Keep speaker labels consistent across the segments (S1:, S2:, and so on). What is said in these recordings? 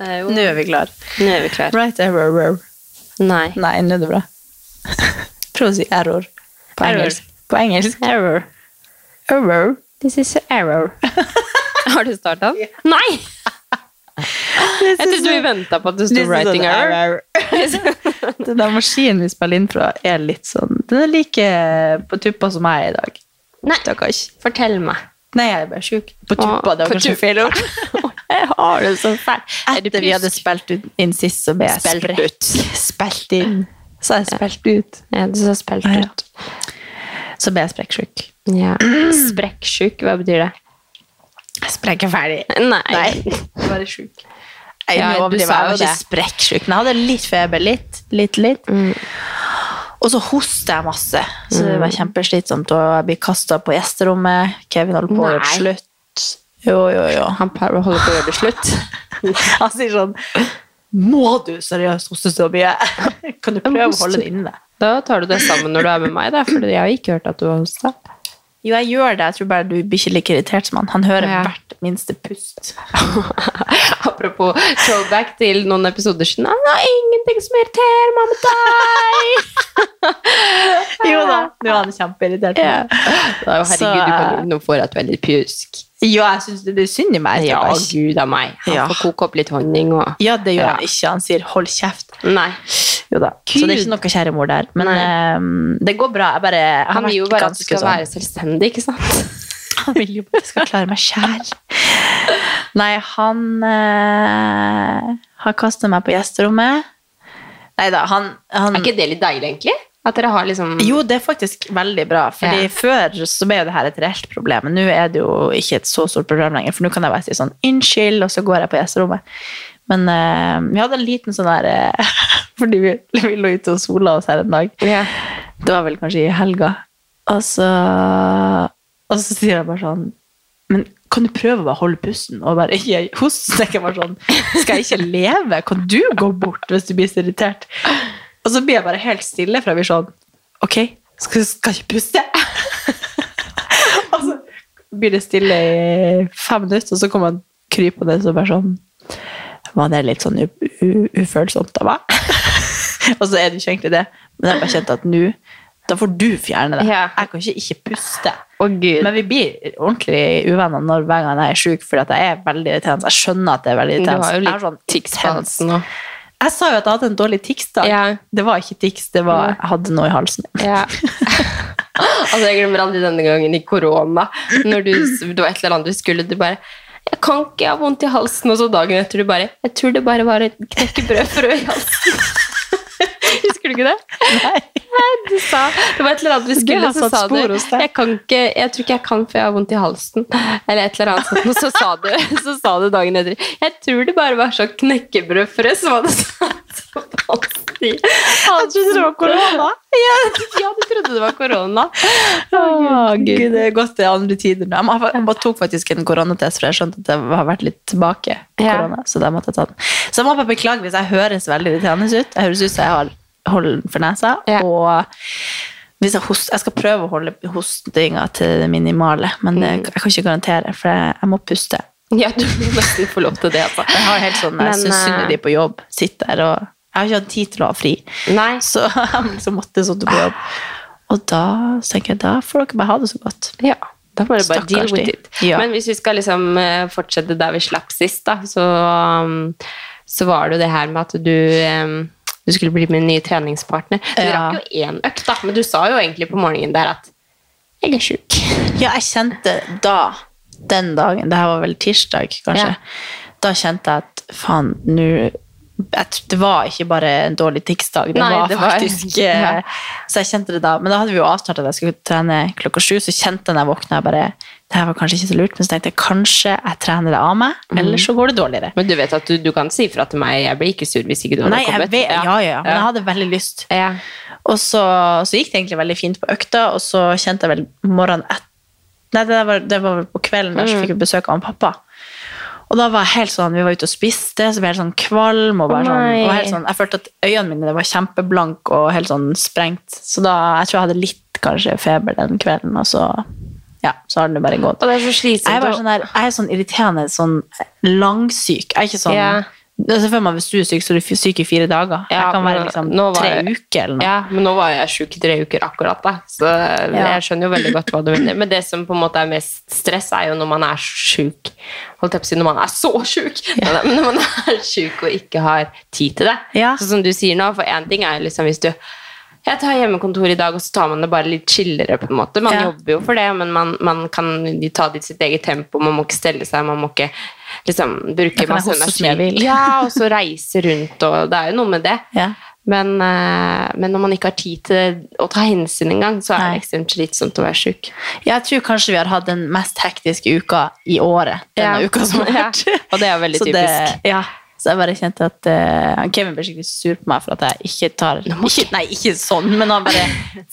S1: er jo
S2: Nå er vi klar.
S1: Nå er vi klar.
S2: Right error. error.
S1: Nei.
S2: Nei, nå er det bra. Prøv å si error på
S1: Error.
S2: engelsk. På engelsk.
S1: Error.
S2: Error.
S1: This is an error. Har du starta? Nei! Jeg trodde vi venta på at det sto writing error.
S2: Den der maskinen vi spiller inn fra, er litt sånn Den er like på tuppa som jeg er i dag.
S1: Nei,
S2: Stakkars.
S1: fortell meg.
S2: Nei, jeg er bare sjuk. På tuppa, det
S1: på
S2: var kanskje
S1: tuppa.
S2: feil ord.
S1: Jeg har det så fælt. Er du
S2: Etter vi hadde
S1: pjusk?
S2: spilt ut- inn sist, så ble jeg
S1: Spilt
S2: spilt ut. Spilt inn. Så jeg spilt ut.
S1: Ja, du sa spilt
S2: Ja.
S1: ut.
S2: Så ble jeg sprekksjuk.
S1: Ja. Sprekksjuk, hva betyr det?
S2: Sprekkeferdig.
S1: Nei.
S2: Bare sjuk. Jeg,
S1: Ja,
S2: nå
S1: du
S2: overdriver
S1: sa jo
S2: jeg, jeg var ikke
S1: det.
S2: sprekksjuk, men jeg hadde litt feber. Litt, litt, litt.
S1: Mm.
S2: Og så hoster jeg masse, så det
S1: Mm.
S2: var kjempeslitsomt. Og jeg blir kasta på gjesterommet. Kevin holder på å gjøre det
S1: Nei.
S2: slutt. Jo, jo, jo.
S1: Han pa- holder på å gjøre det slutt.
S2: Han sier sånn Må du seriøst hoste så mye? Kan du prøve å
S1: hoster.
S2: holde det inne?
S1: Da tar du det sammen når du er med meg, da, for jeg har ikke hørt at du har hosta.
S2: Jo, jeg gjør det. Jeg tror bare du blir ikke like irritert som han. Han hører
S1: Ja.
S2: hvert minste pust.
S1: Apropos throwback til noen episoder siden. «Ah, Det er ingenting som irriterer meg med deg!
S2: Jo da, nå er han kjempeirritert.
S1: Ja. Det er jo,
S2: Så,
S1: herregud, du kan, nå får jeg et veldig pjusk.
S2: Jo, jeg syns det er synd i meg.
S1: Ja,
S2: stakkars.
S1: gud av meg. Han
S2: Ja.
S1: får koke opp litt honning og
S2: ja det gjør
S1: Ja.
S2: han ikke. Han sier 'hold kjeft'.
S1: Nei.
S2: Jo da. Så det er ikke noe kjæremor der. Men ehm, det går bra. Jeg bare, jeg har
S1: Han vil jo
S2: vært
S1: bare at du
S2: ganske
S1: skal
S2: sånn-
S1: være selvstendig, ikke sant?
S2: Han vil jo bare at jeg skal klare meg sjæl. Nei, han eh, har kasta meg på gjesterommet. Nei da, han,
S1: Er
S2: han
S1: ikke det litt deilig, egentlig? At dere har liksom
S2: Jo, det er faktisk veldig bra. Fordi
S1: Ja.
S2: før så ble jo det her et reelt problem. Men nå er det jo ikke et så stort problem lenger. For nå kan jeg bare si sånn 'unnskyld', og så går jeg på gjesterommet. Men eh, vi hadde en liten sånn der eh, Fordi vi, vi lå ute og sola oss her en dag.
S1: Ja.
S2: Det var vel kanskje i helga. Og så, og så sier jeg bare sånn Men kan du prøve å bare holde pusten og bare ikke hoste? Så tenker jeg bare sånn Skal jeg ikke leve? Kan du gå bort hvis du blir så irritert? Og så blir jeg bare helt stille, for jeg blir sånn Ok, skal, skal jeg ikke puste? og så Altså, blir det stille i fem minutter, og så kommer han krypende og bare sånn Var det litt sånn u u ufølsomt av meg? og så er det ikke egentlig det, men jeg bare kjente at nå da får du fjerne det.
S1: Ja.
S2: Jeg kan ikke ikke puste.
S1: Å, gud.
S2: Men vi blir ordentlig uvenner når hver gang jeg er syk, fordi at jeg er veldig irriterende. Jeg skjønner at det er veldig
S1: du
S2: irriterende.
S1: har jo
S2: Jeg er
S1: litt
S2: sånn
S1: tics på
S2: intens.
S1: halsen nå.
S2: Jeg sa jo at jeg hadde en dårlig tics-dag.
S1: Ja.
S2: Det var ikke tics, det var jeg hadde noe i halsen.
S1: Ja. altså, jeg glemmer aldri denne gangen i korona. Når du, det var et eller annet du skulle, du bare Jeg kan ikke, jeg har vondt i halsen. Og så dagen etter du bare Jeg tror det bare var et knekkebrødfrø i halsen. Husker du ikke det?
S2: Nei.
S1: Du sa, det var et eller annet du
S2: Det
S1: skulle,
S2: har
S1: så
S2: satt
S1: sa du
S2: spor hos deg.
S1: jeg, kan ikke, jeg tror ikke jeg kan, for jeg har vondt i halsen. Eller et eller annet sånt. Og så sa du, så sa du dagen etter Jeg tror det bare var sånn knekkebrødfrø som hadde satt opp halsen i
S2: Jeg trodde det var korona.
S1: ja, ja, du trodde det var korona.
S2: Å, Gud. det er gått til andre tider nå. Jeg må- Jeg bare tok faktisk en koronatest, for jeg skjønte at jeg har vært litt tilbake.
S1: Ja.
S2: korona, Så da måtte jeg ta den. Så jeg må bare beklage hvis jeg høres veldig irriterende ut. Jeg høres ut som jeg har hold for nesa.
S1: Ja.
S2: Og hvis jeg, host, jeg skal prøve å holde hostinga til det minimale, men
S1: Mm.
S2: det, jeg kan ikke garantere, for jeg, jeg må puste.
S1: Ja, du må nesten få lov til det, altså.
S2: Jeg har helt sånn, jeg
S1: Men,
S2: synes synd
S1: eh,
S2: på de på jobb. Sitter der og Jeg har ikke hatt tid til å ha fri.
S1: Nei.
S2: Så jeg liksom måtte sånn på jobb. Og da så tenker jeg, da får dere bare ha det så godt.
S1: Ja, da må du bare
S2: Stakkars
S1: deal with
S2: de.
S1: it.
S2: Ja.
S1: Men hvis vi skal liksom eh, fortsette der vi slapp sist, da, så, um, så var det jo det her med at du em, du skulle bli min nye treningspartner. Du
S2: Ja.
S1: rakk jo én økt, da, men du sa jo egentlig på morgenen der at jeg er sjuk.
S2: Ja, jeg kjente da, den dagen, det her var vel tirsdag kanskje,
S1: Ja.
S2: da kjente jeg at faen, nå jeg tr- Det var ikke bare en dårlig tics-dag, det
S1: Nei,
S2: var
S1: det var-
S2: faktisk eh,
S1: Ja.
S2: Så jeg kjente det da. Men da hadde vi jo avtalt at jeg skulle trene klokka sju, så kjente jeg da jeg våkna jeg bare Det her var kanskje ikke så lurt, men så tenkte jeg kanskje jeg trener det av meg,
S1: Mhm.
S2: eller så går det dårligere.
S1: Men du vet at du, du kan si fra til meg, jeg blir ikke sur hvis ikke du hadde
S2: Nei, jeg
S1: kommet.
S2: vet, ja, ja, ja, men jeg hadde veldig lyst.
S1: ja.
S2: Og så, så gikk det egentlig veldig fint på økta, og så kjente jeg vel morgenen etter Nei, det var, det var vel på kvelden der,
S1: Mm.
S2: så fikk vi besøk av han pappa. Og da var jeg helt sånn, vi var ute og spiste, så ble jeg helt sånn kvalm. Og
S1: Å,
S2: bare sånn,
S1: nei.
S2: og helt sånn, jeg følte at øynene mine var kjempeblank og helt sånn sprengt. Så da, jeg tror jeg hadde litt kanskje feber den kvelden, og så, ja, så har den jo bare gått.
S1: Og det er så slitsomt.
S2: Jeg er, bare
S1: å-
S2: sånn der, jeg er sånn irriterende sånn langsyk. Jeg er ikke sånn
S1: Ja.
S2: Altså, for meg, hvis du er syk, så er du f- syk i fire dager.
S1: Ja,
S2: jeg kan være
S1: men
S2: liksom
S1: nå var
S2: tre
S1: jeg-
S2: uker eller noe.
S1: Ja, men nå var jeg sjuk i tre uker akkurat, da. Så jeg skjønner jo veldig godt hva du mener. Men det som på en måte er mest stress, er jo når man er sjuk. Holdt jeg på å si når man er så sjuk! Men når man er sjuk og ikke har tid til det.
S2: Ja.
S1: Så som du sier nå, for én ting er jo liksom hvis du jeg tar hjemmekontor i dag, og så tar man det bare litt chillere. på en måte. Man
S2: Ja.
S1: jobber jo for det, men man, man kan ta det i sitt eget tempo. Man må ikke stelle seg, man må ikke liksom, bruke
S2: Da kan jeg
S1: masse
S2: hoste som jeg
S1: energi.
S2: vil.
S1: Ja, og så reise rundt, og det er jo noe med det.
S2: Ja.
S1: Men, eh, men når man ikke har tid til å ta hensyn engang, så er
S2: Nei.
S1: det ekstremt slitsomt å være sjuk.
S2: Jeg tror kanskje vi har hatt den mest hektiske uka i året. Denne
S1: Ja.
S2: uka som har vært.
S1: Ja. Og det er veldig
S2: så det-
S1: typisk.
S2: ja. Så jeg bare kjente at eh, han Kevin ble skikkelig sur på meg for at jeg ikke tar ikke, Nei, ikke sånn, men han bare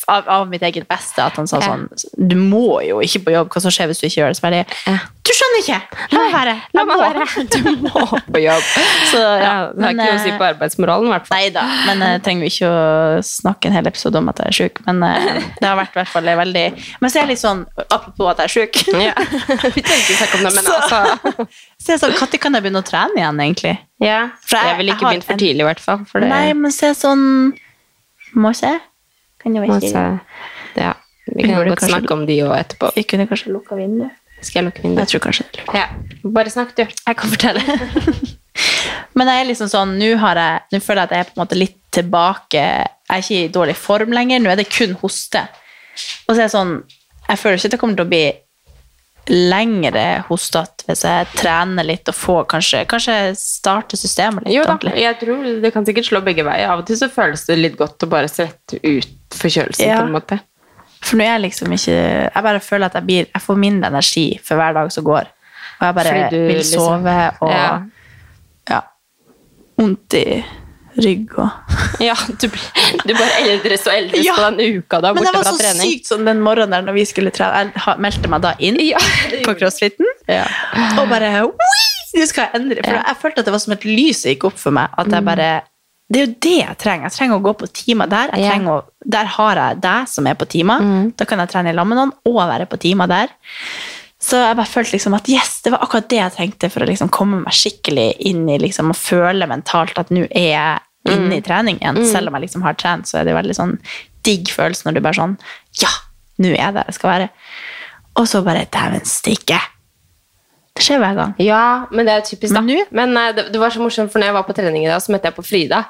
S2: av, av mitt eget beste. At han sa
S1: Ja.
S2: sånn Du må jo ikke på jobb. Hva som skjer hvis du ikke gjør det? Så bare
S1: Ja.
S2: Du skjønner ikke! La meg være!
S1: La meg
S2: Jeg må."
S1: være. Du må på jobb.
S2: Så, ja,
S1: Ja, det har
S2: men,
S1: ikke noe å si
S2: eh,
S1: på arbeidsmoralen, i hvert fall.
S2: Nei da, men jeg trenger jo ikke å snakke en hel episode om at jeg er sjuk. Men eh, det har vært i hvert fall veldig Men så er jeg litt sånn, apropos at jeg er sjuk
S1: Ja. Vi trenger ikke snakke om det, men
S2: Så-
S1: altså
S2: Så jeg er sånn, Når kan jeg begynne å trene igjen, egentlig?
S1: ja.
S2: For jeg-
S1: Jeg ville
S2: jeg
S1: ikke
S2: har
S1: begynt for
S2: en-
S1: tidlig, i hvert fall. For det,
S2: Nei, men så er jeg sånn Må se. Kan jeg
S1: altså,
S2: ikke
S1: ja. Vi kan
S2: Burde
S1: godt
S2: kanskje-
S1: snakke om de òg etterpå.
S2: Vi kunne kanskje lukka vinduet.
S1: Skal jeg lukke
S2: Jeg
S1: vinduet?
S2: tror kanskje det.
S1: Ja. Bare snakk, du. Jeg kan fortelle.
S2: Men jeg er liksom sånn, nå har jeg, nå føler jeg at jeg er på en måte litt tilbake. Jeg er ikke i dårlig form lenger, nå er det kun hoste. Og så er jeg sånn, jeg føler ikke at det kommer til å bli lengre hostet hvis jeg trener litt og får kanskje, kanskje starte systemet litt
S1: Jo da,
S2: ordentlig.
S1: jeg tror det kan sikkert slå begge veier. Av og til så føles det litt godt å bare svette ut forkjølelsen,
S2: Ja.
S1: på en måte.
S2: For nå er jeg liksom ikke, jeg bare føler at jeg, blir, jeg får mindre energi for hver dag som går. Og jeg bare
S1: Fordi du
S2: vil
S1: liksom-
S2: sove og ja.
S1: Ja.
S2: ondt i rygg og...
S1: Ja, du, blir- du bare eldres og eldres
S2: Ja.
S1: på den uka da,
S2: Men
S1: borte
S2: jeg var
S1: fra
S2: så
S1: trening.
S2: sykt sånn den morgenen der når vi skulle trene. Jeg ha- meldte meg da inn
S1: Ja,
S2: på crossfiten
S1: Ja.
S2: og bare «Oi, Nå skal jeg endre! For
S1: Ja. Mm.
S2: jeg følte at det var som et lys som gikk opp for meg. At jeg bare Det er jo det jeg trenger. Jeg trenger å gå på timer der. Jeg
S1: Ja.
S2: trenger å, der har jeg deg som er på timer.
S1: Mm.
S2: Da kan jeg trene i lag med noen og være på timer der. Så jeg bare følte liksom at yes, det var akkurat det jeg trengte for å liksom komme meg skikkelig inn i liksom, og føle mentalt at nå er jeg inne
S1: Mm.
S2: i trening igjen. Selv om jeg liksom har trent, så er det jo veldig sånn digg følelse når du bare sånn Ja, nå er jeg der jeg skal være. Og så bare Dæven stikke! Det skjer hver gang.
S1: Ja, men det er typisk da.
S2: Men
S1: Men,
S2: nå?
S1: eh, det, det var så morsomt, for når jeg var på trening i dag, så møtte jeg på Frida.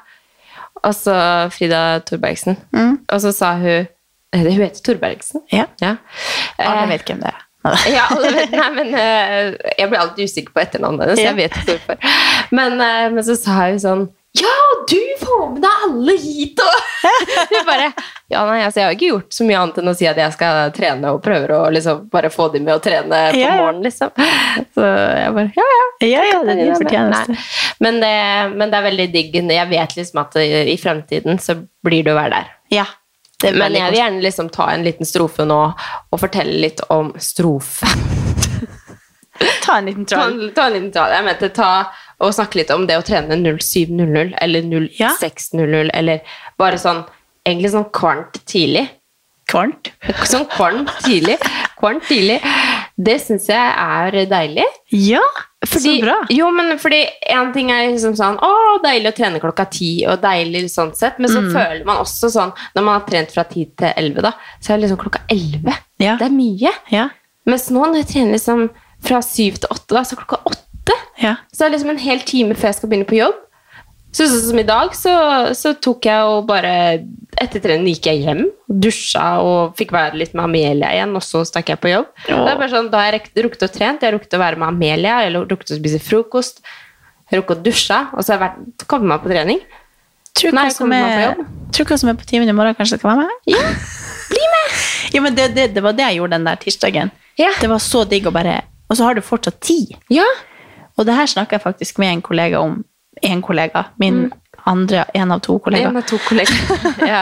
S1: Altså Frida Thorbergsen. Og så sa hun eh, Hun heter Thorbergsen?
S2: Ja.
S1: Ja.
S2: Alle
S1: Eh,
S2: vet hvem det er.
S1: Ja, alle vet, nei, men eh, Jeg blir alltid usikker på etternavnet hennes.
S2: Ja.
S1: Jeg vet ikke hvorfor. Men, eh, men så sa hun sånn Ja, du får med deg alle hit! Og vi bare Ja, nei, altså, jeg har ikke gjort så mye annet enn å si at jeg skal trene og prøver å liksom bare få de med å trene på
S2: Ja, ja.
S1: morgenen, liksom. Så jeg bare Ja, ja.
S2: Ja, ja, det er din fortjeneste.
S1: Nei, Men det, men det er veldig digg. Jeg vet liksom at i, i fremtiden så blir det å være der.
S2: Ja. Det er
S1: Men
S2: veldig
S1: jeg vil gjerne liksom ta en liten strofe nå og fortelle litt om strofe.
S2: kort. Ta en liten
S1: Ta
S2: troll.
S1: en, ta en liten tale. Jeg mente ta og snakke litt om det å trene 0700 eller 0600 eller bare sånn Egentlig sånn kvarnt tidlig.
S2: Kvarnt.
S1: Sånn kvarnt tidlig. Kvarnt tidlig. Det syns jeg er deilig.
S2: Ja,
S1: Fordi-
S2: så bra.
S1: Jo, men fordi en ting er liksom sånn Å, deilig å trene klokka ti, og deilig sånn sett. Men så
S2: Mm.
S1: føler man også sånn Når man har trent fra ti til elleve, da, så er det liksom klokka elleve.
S2: Ja.
S1: Det er mye.
S2: Ja.
S1: Mens nå, når jeg trener liksom fra syv til åtte, da, så er klokka åtte.
S2: ja.
S1: Så det er liksom en hel time før jeg skal begynne på jobb. Så sånn som i dag, så, så tok jeg og bare Etter trening gikk jeg hjem, dusja og fikk være litt med Amelia igjen, og så stakk jeg på jobb.
S2: Ja.
S1: Det er bare sånn, Da har jeg rekt- rukket å trent, jeg har rukket å være med Amelia, jeg har rukket å spise frokost, jeg har rukket å dusje, og så har jeg vært, kommet meg på trening.
S2: Tror
S1: Nei,
S2: hva som
S1: kommer man på
S2: er, tror hva som er på timen i morgen, kanskje skal være med? Ja, bli med! ja, men det, det, det var det jeg gjorde den der tirsdagen.
S1: Ja.
S2: Det var så digg å bare Og så har du fortsatt tid.
S1: Ja,
S2: Og det her snakker jeg faktisk med en kollega om. En kollega. Min andre, en av to kollegaer.
S1: Mm. En av to kolleger. ja.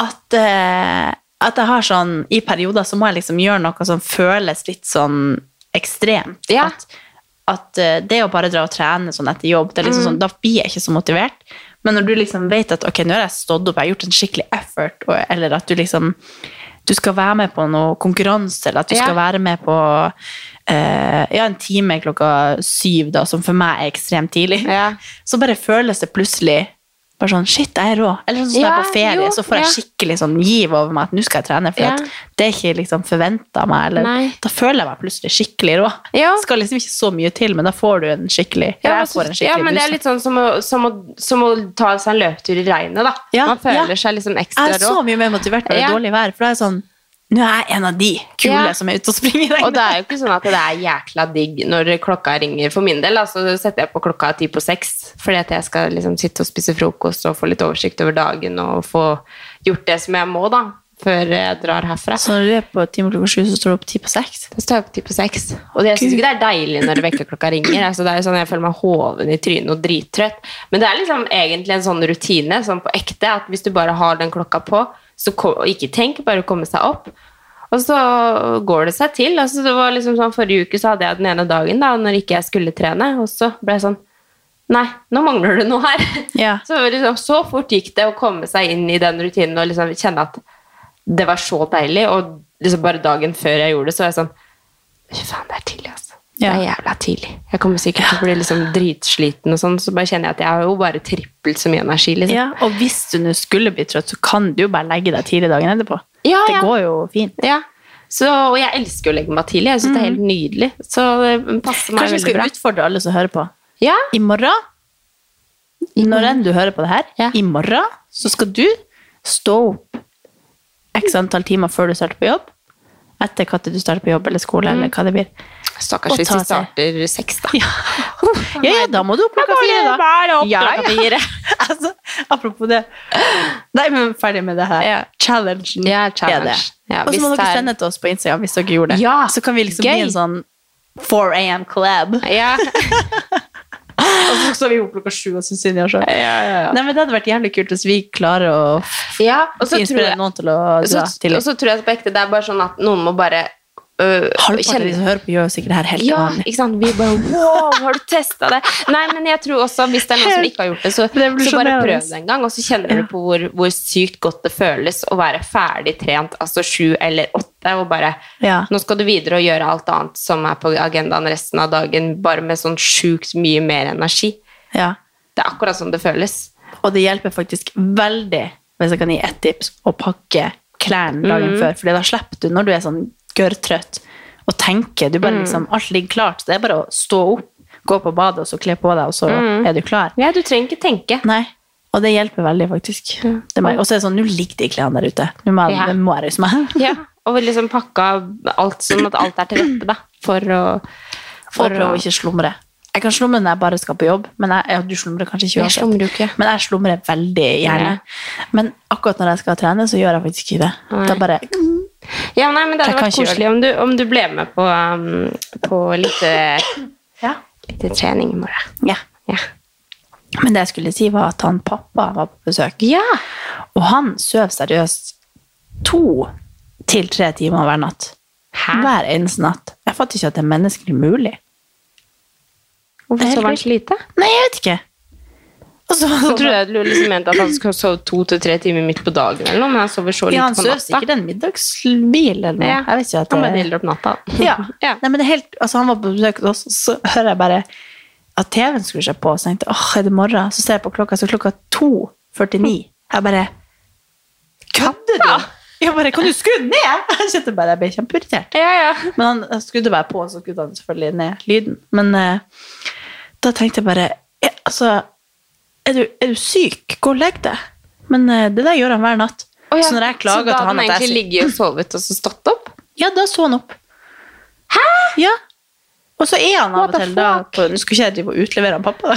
S2: at, eh, at jeg har sånn I perioder så må jeg liksom gjøre noe som føles litt sånn ekstremt.
S1: Ja.
S2: At, at eh, det å bare dra og trene sånn etter jobb, det er
S1: Mm.
S2: liksom sånn, da blir jeg ikke så motivert. Men når du liksom vet at ok, nå har jeg stått opp, jeg har gjort en skikkelig effort, og, eller at du liksom du skal være med på noe konkurranse, eller at du
S1: Ja.
S2: skal være med på eh, ja, en time klokka syv, da, som for meg er ekstremt tidlig,
S1: Ja.
S2: så bare føles det plutselig bare sånn, shit, jeg er rå. Eller sånn som jeg
S1: Ja,
S2: er på ferie,
S1: jo,
S2: så får jeg
S1: ja.
S2: skikkelig sånn giv over meg at nå skal jeg trene, for
S1: Ja.
S2: at det er ikke liksom forventet av meg. Eller,
S1: Nei.
S2: da føler jeg meg plutselig skikkelig rå.
S1: Ja.
S2: Det skal liksom ikke så mye til, men da får du en skikkelig,
S1: Ja,
S2: eller
S1: men
S2: jeg får
S1: så-
S2: en
S1: ja,
S2: skikkelig
S1: men det er
S2: boost.
S1: litt sånn som å, som å, som å ta seg en løpetur i regnet, da.
S2: Ja,
S1: Man føler
S2: ja.
S1: seg liksom ekstra
S2: Jeg er
S1: rå.
S2: så mye mer motivert når det
S1: Ja.
S2: er dårlig vær, for da er jeg sånn Nå er jeg en av de kule
S1: Ja.
S2: som er ute og springer i regnet.
S1: Og det er jo ikke sånn at det er jækla digg når klokka ringer. For min del da, så setter jeg på klokka ti på seks, fordi at jeg skal liksom sitte og spise frokost og få litt oversikt over dagen og få gjort det som jeg må, da, før jeg drar herfra.
S2: Så når du er på time klokka sju, så står du opp ti på seks.
S1: Da står jeg opp ti på seks. Og det- jeg syns ikke det er deilig når vekkerklokka ringer. Altså, det er jo sånn Jeg føler meg hoven i trynet og drittrøtt. Men det er liksom egentlig en sånn rutine, sånn på ekte, at hvis du bare har den klokka på, så ko- og ikke tenk, bare komme seg opp. Og så går det seg til. Altså, det var liksom sånn, forrige uke så hadde jeg den ene dagen da, når ikke jeg skulle trene, og så ble jeg sånn Nei, nå mangler det noe her.
S2: Ja.
S1: Så, liksom, så fort gikk det å komme seg inn i den rutinen og liksom kjenne at det var så deilig. Og liksom bare dagen før jeg gjorde det, så var jeg sånn Fy faen, det er tidlig, altså. Det er
S2: Ja.
S1: jævla tidlig. Jeg kommer sikkert til å bli liksom dritsliten, og sånn, så bare kjenner jeg at jeg har jo bare trippelt så mye energi. liksom.
S2: ja. Og hvis du nå skulle bli trøtt, så kan du jo bare legge deg tidlig dagen etterpå.
S1: Ja,
S2: Det
S1: ja.
S2: går jo fint.
S1: Ja. Så, og jeg elsker å legge meg tidlig. Jeg syns det er helt nydelig. Så det passer meg
S2: Mm. Kanskje vi
S1: veldig
S2: skal
S1: bra.
S2: utfordre alle som hører på.
S1: Ja,
S2: I morgen, når enn du hører på det her,
S1: Ja.
S2: i morgen så skal du stå opp x antall timer før du starter på jobb. Etter når du starter på jobb eller skole, eller hva det blir.
S1: Stakkars
S2: Og
S1: hvis
S2: ta
S1: vi
S2: seg.
S1: starter seks, da.
S2: Ja, ja, da må du opp klokka fire, da. ja, ja. altså, apropos det. Nei, men ferdig med det her.
S1: Ja.
S2: Challengen
S1: Ja, challenge.
S2: er det.
S1: Ja,
S2: og
S1: hvis
S2: så må
S1: det
S2: dere
S1: er-
S2: sende til oss på Instagram hvis dere gjorde det.
S1: Ja,
S2: så kan vi liksom
S1: gøy.
S2: bli en sånn 4 am collab.
S1: Ja.
S2: Og så skal vi opp klokka sju og synes synd i oss selv.
S1: ja, ja, ja.
S2: Nei, men Det hadde vært jævlig kult hvis vi klarer å
S1: ja. Og så tror
S2: inspirere
S1: jeg
S2: noen til å dra
S1: så,
S2: til
S1: Og så tror jeg på ekte det er bare sånn at noen må bare øh,
S2: Halvparten av
S1: kjenne-
S2: de som hører på, gjør jo sikkert det her helt
S1: ja,
S2: vanlig.
S1: ikke sant? Vi bare Wow, har du testa det? Nei, men jeg tror også hvis det er noen som ikke har gjort det, så, så bare
S2: Revolusjonerende.
S1: prøv det en gang, og så kjenner du på hvor, hvor sykt godt det føles å være ferdig trent, altså sju eller åtte, og bare
S2: Ja.
S1: Nå skal du videre og gjøre alt annet som er på agendaen resten av dagen, bare med sånn sjukt mye mer energi.
S2: Ja.
S1: Det er akkurat sånn det føles.
S2: Og det hjelper faktisk veldig, hvis jeg kan gi ett tips, å pakke klærne dagen
S1: Mm.
S2: før. For da slipper du, når du er sånn gørrtrøtt, å tenke. Du
S1: Mm.
S2: bare liksom, alt ligger klart. Det er bare å stå opp, gå på badet, og så kle på deg, og så
S1: Mm.
S2: er du klar.
S1: Ja, du trenger ikke tenke.
S2: Nei. Og det hjelper veldig, faktisk. Det må jeg- Og så er det sånn, nå ligger de klærne der ute. Nå må, jeg-
S1: Ja.
S2: nå må jeg ruse meg.
S1: Ja, og liksom pakka alt sånn at alt er til rette, da. For å
S2: Og prøve å ikke slumre. Jeg kan slumre når jeg bare skal på jobb, men jeg, ja, du slumrer kanskje ikke
S1: Jeg
S2: uansett.
S1: slumrer jo ikke.
S2: Men jeg slumrer veldig gjerne. Men akkurat når jeg skal trene, så gjør jeg faktisk ikke det. Da bare
S1: Ja, nei, men det
S2: Jeg
S1: hadde
S2: kan
S1: vært
S2: ikke gjøre
S1: koselig om du, om du ble med på, um, på litt, eh, litt trening i morgen.
S2: ja.
S1: Ja.
S2: Men det jeg skulle si var at han pappa var på besøk,
S1: ja.
S2: og han søv seriøst to til tre timer hver natt.
S1: Hæ?
S2: Hver eneste natt. Jeg fatter ikke at det er menneskelig mulig. Det
S1: Hvorfor
S2: er
S1: sov han
S2: helt
S1: så lite?
S2: Nei, jeg vet ikke. Og så,
S1: Så tror jeg du liksom mente at han skulle sove to til tre timer midt på dagen, eller noe, men han sover så lite
S2: ja, han
S1: på
S2: søv
S1: natta.
S2: sikkert en middagshvil eller noe.
S1: Ja.
S2: Jeg vet ikke at
S1: Han bare
S2: det...
S1: deler opp natta.
S2: Ja.
S1: ja.
S2: Nei, men det er helt, altså han var på besøk hos oss, så hører jeg bare at TV-en skulle seg på, så tenkte jeg, åh, er det morgen? Så ser jeg på klokka, så er klokka 2.49. Jeg bare, kødde du? Jeg bare, kan du skru ned? Jeg kjente bare, jeg ble kjempeirritert.
S1: Ja, ja.
S2: Men han jeg skrudde bare på, og så skrudde han selvfølgelig ned lyden. Men eh, da tenkte jeg bare, ja, altså, er du, er du syk? Gå og legg deg. Men eh, det der gjør han hver natt.
S1: Å, ja.
S2: Så når jeg
S1: så
S2: klager
S1: da
S2: til han
S1: hadde
S2: at
S1: han
S2: jeg er syk-
S1: egentlig ligget og sovet og så stått opp?
S2: ja, da så han opp. Hæ? Ja. Og så er han
S1: What
S2: av og
S1: the
S2: til da på, Nå skulle ikke jeg drive og utlevere han pappa.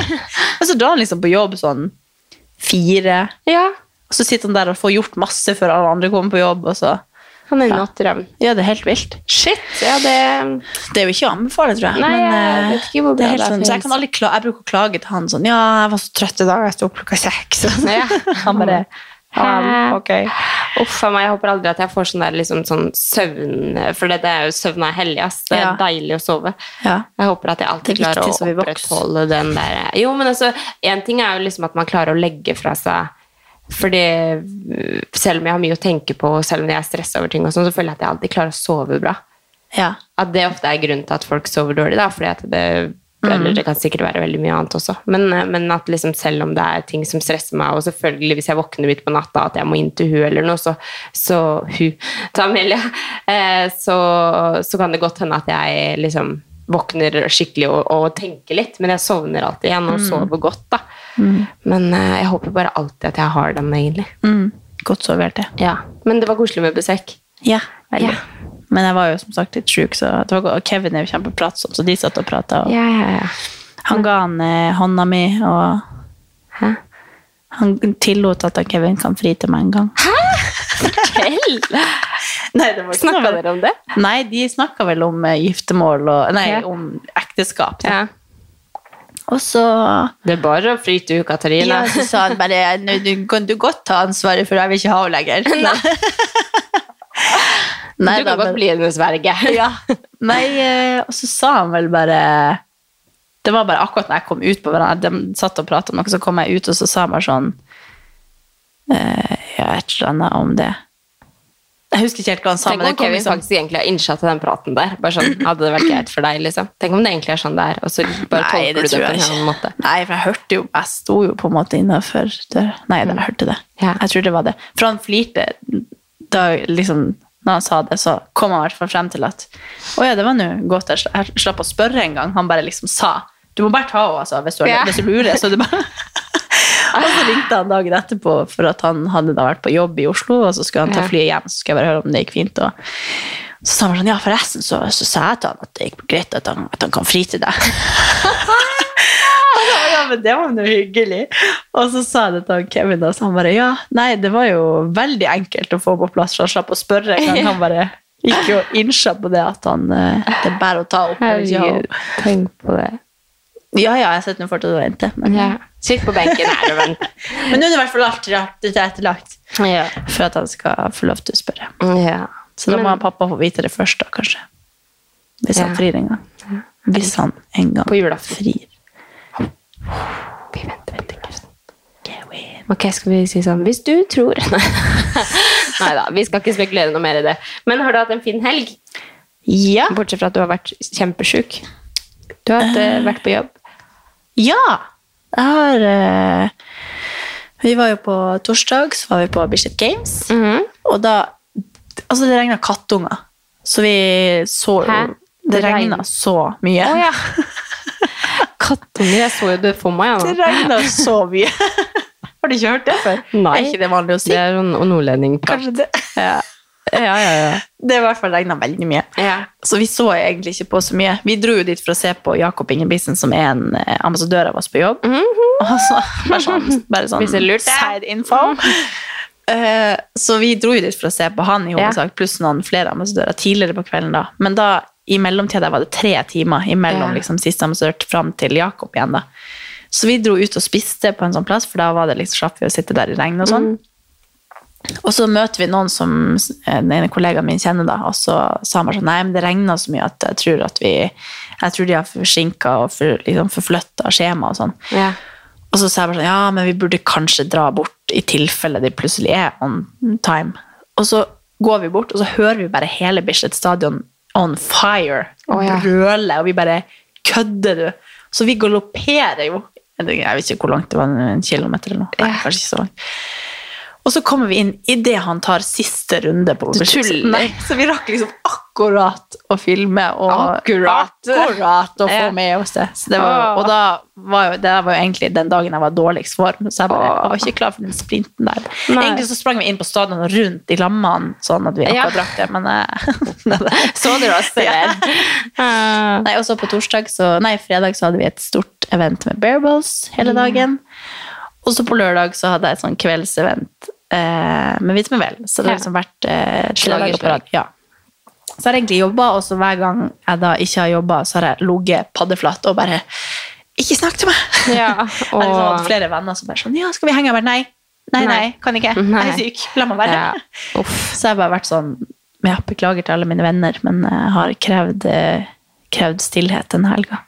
S2: Men så drar han liksom på jobb sånn fire,
S1: Ja.
S2: og så sitter han der og får gjort masse før alle andre kommer på jobb. Og så.
S1: Han er i natteravn.
S2: Ja, det er helt vilt.
S1: Shit, ja det
S2: Det er jo ikke å anbefale, tror jeg.
S1: Nei, jeg
S2: eh,
S1: vet ikke hvor
S2: det
S1: bra
S2: er helt
S1: det er
S2: sånn,
S1: for
S2: så jeg, kan aldri kla jeg bruker å klage til han sånn Ja, jeg var så trøtt i dag, jeg sto opp klokka seks. sånn.
S1: Ja.
S2: Han bare ja,
S1: Hæ?
S2: Ok.
S1: Eh, Uff a meg, jeg håper aldri at jeg får sånn der liksom sånn søvn For det, det er jo søvn er hellig, ass. Det er
S2: Ja.
S1: deilig å sove.
S2: Ja.
S1: Jeg håper at jeg alltid
S2: Det er
S1: klarer
S2: viktig
S1: å
S2: så vi vokser.
S1: opprettholde den der Jo, men altså, én ting er jo liksom at man klarer å legge fra seg Fordi øh, selv om jeg har mye å tenke på, og selv om jeg er stressa over ting, og sånn, så føler jeg at jeg alltid klarer å sove bra.
S2: Ja.
S1: At det ofte er grunnen til at folk sover dårlig, da, fordi at det eller det kan sikkert være veldig mye annet også, men, øh, men at liksom selv om det er ting som stresser meg, og selvfølgelig hvis jeg våkner midt på natta at jeg må inn til hun eller noe, så, så hun, til Amelia, eh, så, så kan det godt hende at jeg liksom våkner skikkelig og, og tenker litt, men jeg sovner alltid igjen og sover godt da. Men eh, jeg håper bare alltid at jeg har den egentlig.
S2: Mm. Godt sovert, det.
S1: Ja, men det var koselig med besøk.
S2: Ja, veldig.
S1: Ja.
S2: Men jeg var jo som sagt litt sjuk, så det var, og Kevin er jo kjempepratsom, så de satt og prata.
S1: Ja, ja, ja.
S2: Han ga han eh, hånda mi, og
S1: Hæ?
S2: han tillot at han Kevin kan fri til meg en gang. Nei, det var
S1: Snakka dere om det?
S2: Nei, de snakka vel om eh, giftermål og Nei,
S1: Ja.
S2: om ekteskap. da.
S1: Ja.
S2: Og så
S1: Det er bare å fri til
S2: ja,
S1: Katarina.
S2: så sa han bare «Nå, du, Kan du godt ta ansvaret, for jeg vil ikke ha henne lenger. Nei
S1: du kan
S2: da, men-
S1: godt bli hennes verge.
S2: Ja. Nei, eh, og så sa han vel bare Det var bare akkurat når jeg kom ut på hverandre, de satt og pratet om noe, så kom jeg ut, og så sa han bare sånn eh, Ja, et eller annet om det. Jeg husker ikke helt hva han sa,
S1: Tenk
S2: men det
S1: om
S2: kom
S1: Kevin
S2: liksom
S1: faktisk egentlig har innsatt til den praten der. Bare sånn, hadde det vært greit for deg, liksom. Tenk om det egentlig er sånn det er, og så bare
S2: Nei,
S1: tolker du det
S2: tror
S1: på en
S2: jeg
S1: annen
S2: ikke.
S1: måte.
S2: Nei, for jeg hørte jo Jeg sto jo på en måte innafor døra. Nei, da, jeg hørte det.
S1: Mm. Ja.
S2: Jeg tror det var det. For han flirte da liksom når han sa det, så kom han i hvert fall frem til at Å ja, det var nå godt jeg sla- jeg slapp å spørre en gang. Han bare liksom sa Du må bare ta henne, altså, hvis du, har-
S1: Ja.
S2: hvis du lurer. Så det bare Og så ringte han dagen etterpå for at han hadde da vært på jobb i Oslo, og så skulle han ta
S1: Ja.
S2: flyet hjem, så skulle jeg bare høre om det gikk fint. Og så sa han sånn, ja, forresten så, så sa jeg til han at det gikk greit at han, at han kan fri til deg. Og så var jeg, ja, men det var noe hyggelig. Og så sa jeg det til han Kevin, og så han bare, ja, nei, det var jo veldig enkelt å få på plass, for han slapp å spørre en gang. Han bare gikk jo innsja på det at han, eh, det er bare å ta opp. jeg vil ikke ha opp.
S1: tenk på det.
S2: Ja, ja, jeg sitter nå fortsatt og venter. Men,
S1: Ja. Sitt på benken her og vent.
S2: men nå er det i hvert fall alt rart tilrettelagt
S1: Ja.
S2: for at han skal få lov til å spørre.
S1: ja.
S2: Så da
S1: Men-
S2: må han pappa få vite det først, da, kanskje. Hvis
S1: Ja.
S2: han frir en gang. Hvis han en gang
S1: På julaften.
S2: frir.
S1: Vi venter på julaften. Ok, skal vi si sånn Hvis du tror Nei da, vi skal ikke spekulere noe mer i det. Men har du hatt en fin helg?
S2: Ja!
S1: Bortsett fra at du har vært kjempesjuk. Du har hatt, eh, vært på jobb.
S2: Ja! Jeg har eh, Vi var jo på torsdag, så var vi på Bislett Games.
S1: Mhm.
S2: Og da Altså, det regna kattunger. Så vi så jo
S1: Hæ?
S2: Det
S1: Det regn-
S2: regna så mye.
S1: Å ja! Kattunger, jeg så jo det for meg.
S2: Det
S1: Ja.
S2: regna så mye. har du ikke hørt det før?
S1: Nei.
S2: Er ikke det vanlig å si?
S1: Det er sånn nordlending
S2: Kanskje det.
S1: Ja, ja, ja.
S2: Det i hvert fall regna veldig mye.
S1: ja.
S2: Så vi så egentlig ikke på så mye. Vi dro jo dit for å se på Jakob Ingebrigtsen, som er en eh, ambassadør av oss på jobb.
S1: Mhm.
S2: Og så, bare sånn, bare sånn
S1: Hvis det er lurt, ja. Mm.
S2: side info. Eh, så vi dro jo dit for å se på han i hovedsak, pluss noen flere ambassadører tidligere på kvelden. da. Men da, i mellomtida der var det tre timer imellom
S1: Ja.
S2: liksom, siste ambassadør fram til Jakob igjen. da. Så vi dro ut og spiste på en sånn plass, for da var det liksom slapp vi å sitte der i regnet og sånn.
S1: Mm.
S2: Og så møter vi noen som eh, den ene kollegaen min kjenner, da, og så sa han bare sånn Nei, men det regner så mye at jeg tror at vi Jeg tror de har forsinka og for, liksom forflytta skjema og sånn.
S1: ja.
S2: Og så sa jeg bare sånn Ja, men vi burde kanskje dra bort i tilfelle de plutselig er on time. Og så går vi bort, og så hører vi bare hele Bislett stadion on fire.
S1: Å, ja.
S2: Brøle, og vi bare Kødder du? Så vi galopperer jo. Jeg vet ikke hvor langt det var, en kilometer eller noe. Nei,
S1: Ja.
S2: kanskje ikke så langt. Og så kommer vi inn idet han tar siste runde på
S1: tuller.
S2: Nei, så vi rakk liksom akkurat å filme og
S1: Akkurat.
S2: akkurat å
S1: Ja.
S2: få med oss det. Så det var, og da var jo, det var jo egentlig den dagen jeg var dårligst form, så jeg, bare,
S1: Åh.
S2: jeg var ikke klar for den sprinten der.
S1: Nei.
S2: Egentlig så sprang vi inn på stadion og rundt i lammene, sånn at vi
S1: Ja.
S2: akkurat rakk det, men eh,
S1: Så dere oss,
S2: Ja.
S1: eller? Ja.
S2: Nei, og så på torsdag, så, nei, fredag så hadde vi et stort event med Bearballs hele dagen. Og så på lørdag så hadde jeg et sånn kveldsevent eh, med Vits med Vel. Så det
S1: Ja.
S2: har liksom vært eh, tre
S1: dager
S2: dager
S1: på
S2: på rad. Ja. Så har jeg egentlig jobba, og så hver gang jeg da ikke har jobba, så har jeg ligget paddeflat og bare Ikke snakk til
S1: Ja,
S2: meg! Jeg har liksom
S1: og-
S2: hatt flere venner som bare sånn Ja, skal vi henge? Jeg bare nei. Nei, nei,
S1: Nei.
S2: kan ikke. Jeg
S1: Nei.
S2: er syk. La meg være.
S1: Ja. Uff.
S2: Så jeg har bare vært sånn Jeg beklager til alle mine venner, men jeg har krevd, eh, krevd stillhet denne helga.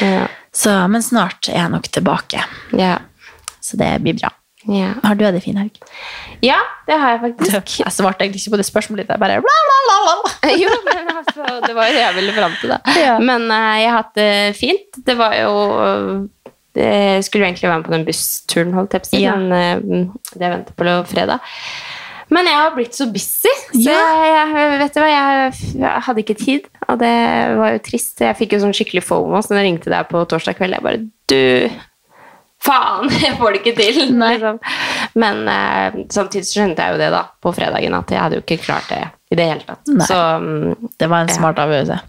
S1: Ja.
S2: Så, men snart er jeg nok tilbake,
S1: Ja.
S2: så det blir bra.
S1: Ja.
S2: Har du hatt en fin helg?
S1: ja, det har jeg faktisk.
S2: Jeg svarte egentlig ikke på det spørsmålet ditt. Jeg bare bla, bla, bla, bla.
S1: jo, men altså, det var jo det jeg ville fram til, da.
S2: Ja.
S1: Men eh, jeg har hatt det fint. Det var jo eh, det skulle jo egentlig være med på den bussturen, holdt jeg på å si,
S2: Ja.
S1: men eh, det venter på lov- fredag. Men jeg har blitt så busy, så jeg, vet du hva, jeg, jeg hadde ikke tid. Og det var jo trist. Jeg fikk jo sånn skikkelig fomo så når jeg ringte deg på torsdag kveld. Jeg bare Du, faen! Jeg får det ikke til!
S2: Nei.
S1: Liksom. Men eh, samtidig så skjønte jeg jo det da, på fredagen, at jeg hadde jo ikke klart det i det hele tatt.
S2: Nei.
S1: Så mm,
S2: Det var en smart avgjørelse.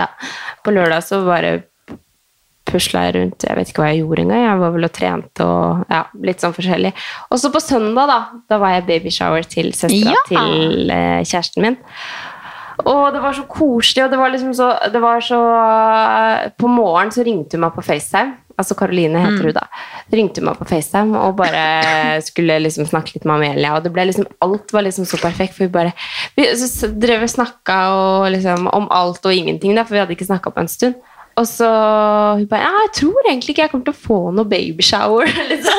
S1: ja. På lørdag så bare pusla jeg rundt. Jeg vet ikke hva jeg gjorde engang. Jeg var vel og trente og ja, litt sånn forskjellig. Og så på søndag, da, da var jeg babyshower til søstera
S2: Ja!
S1: til eh, kjæresten min. Og det var så koselig, og det var liksom så, det var så På morgenen så ringte hun meg på FaceTime. Altså Karoline heter hun, da. Ringte hun meg på FaceTime og bare skulle liksom snakke litt med Amelia. Og det ble liksom, alt var liksom så perfekt, for vi bare Vi så s- drev og snakka og liksom, om alt og ingenting, da, for vi hadde ikke snakka på en stund. Og så hun bare Ja, jeg tror egentlig ikke jeg kommer til å få noe babyshower. Liksom.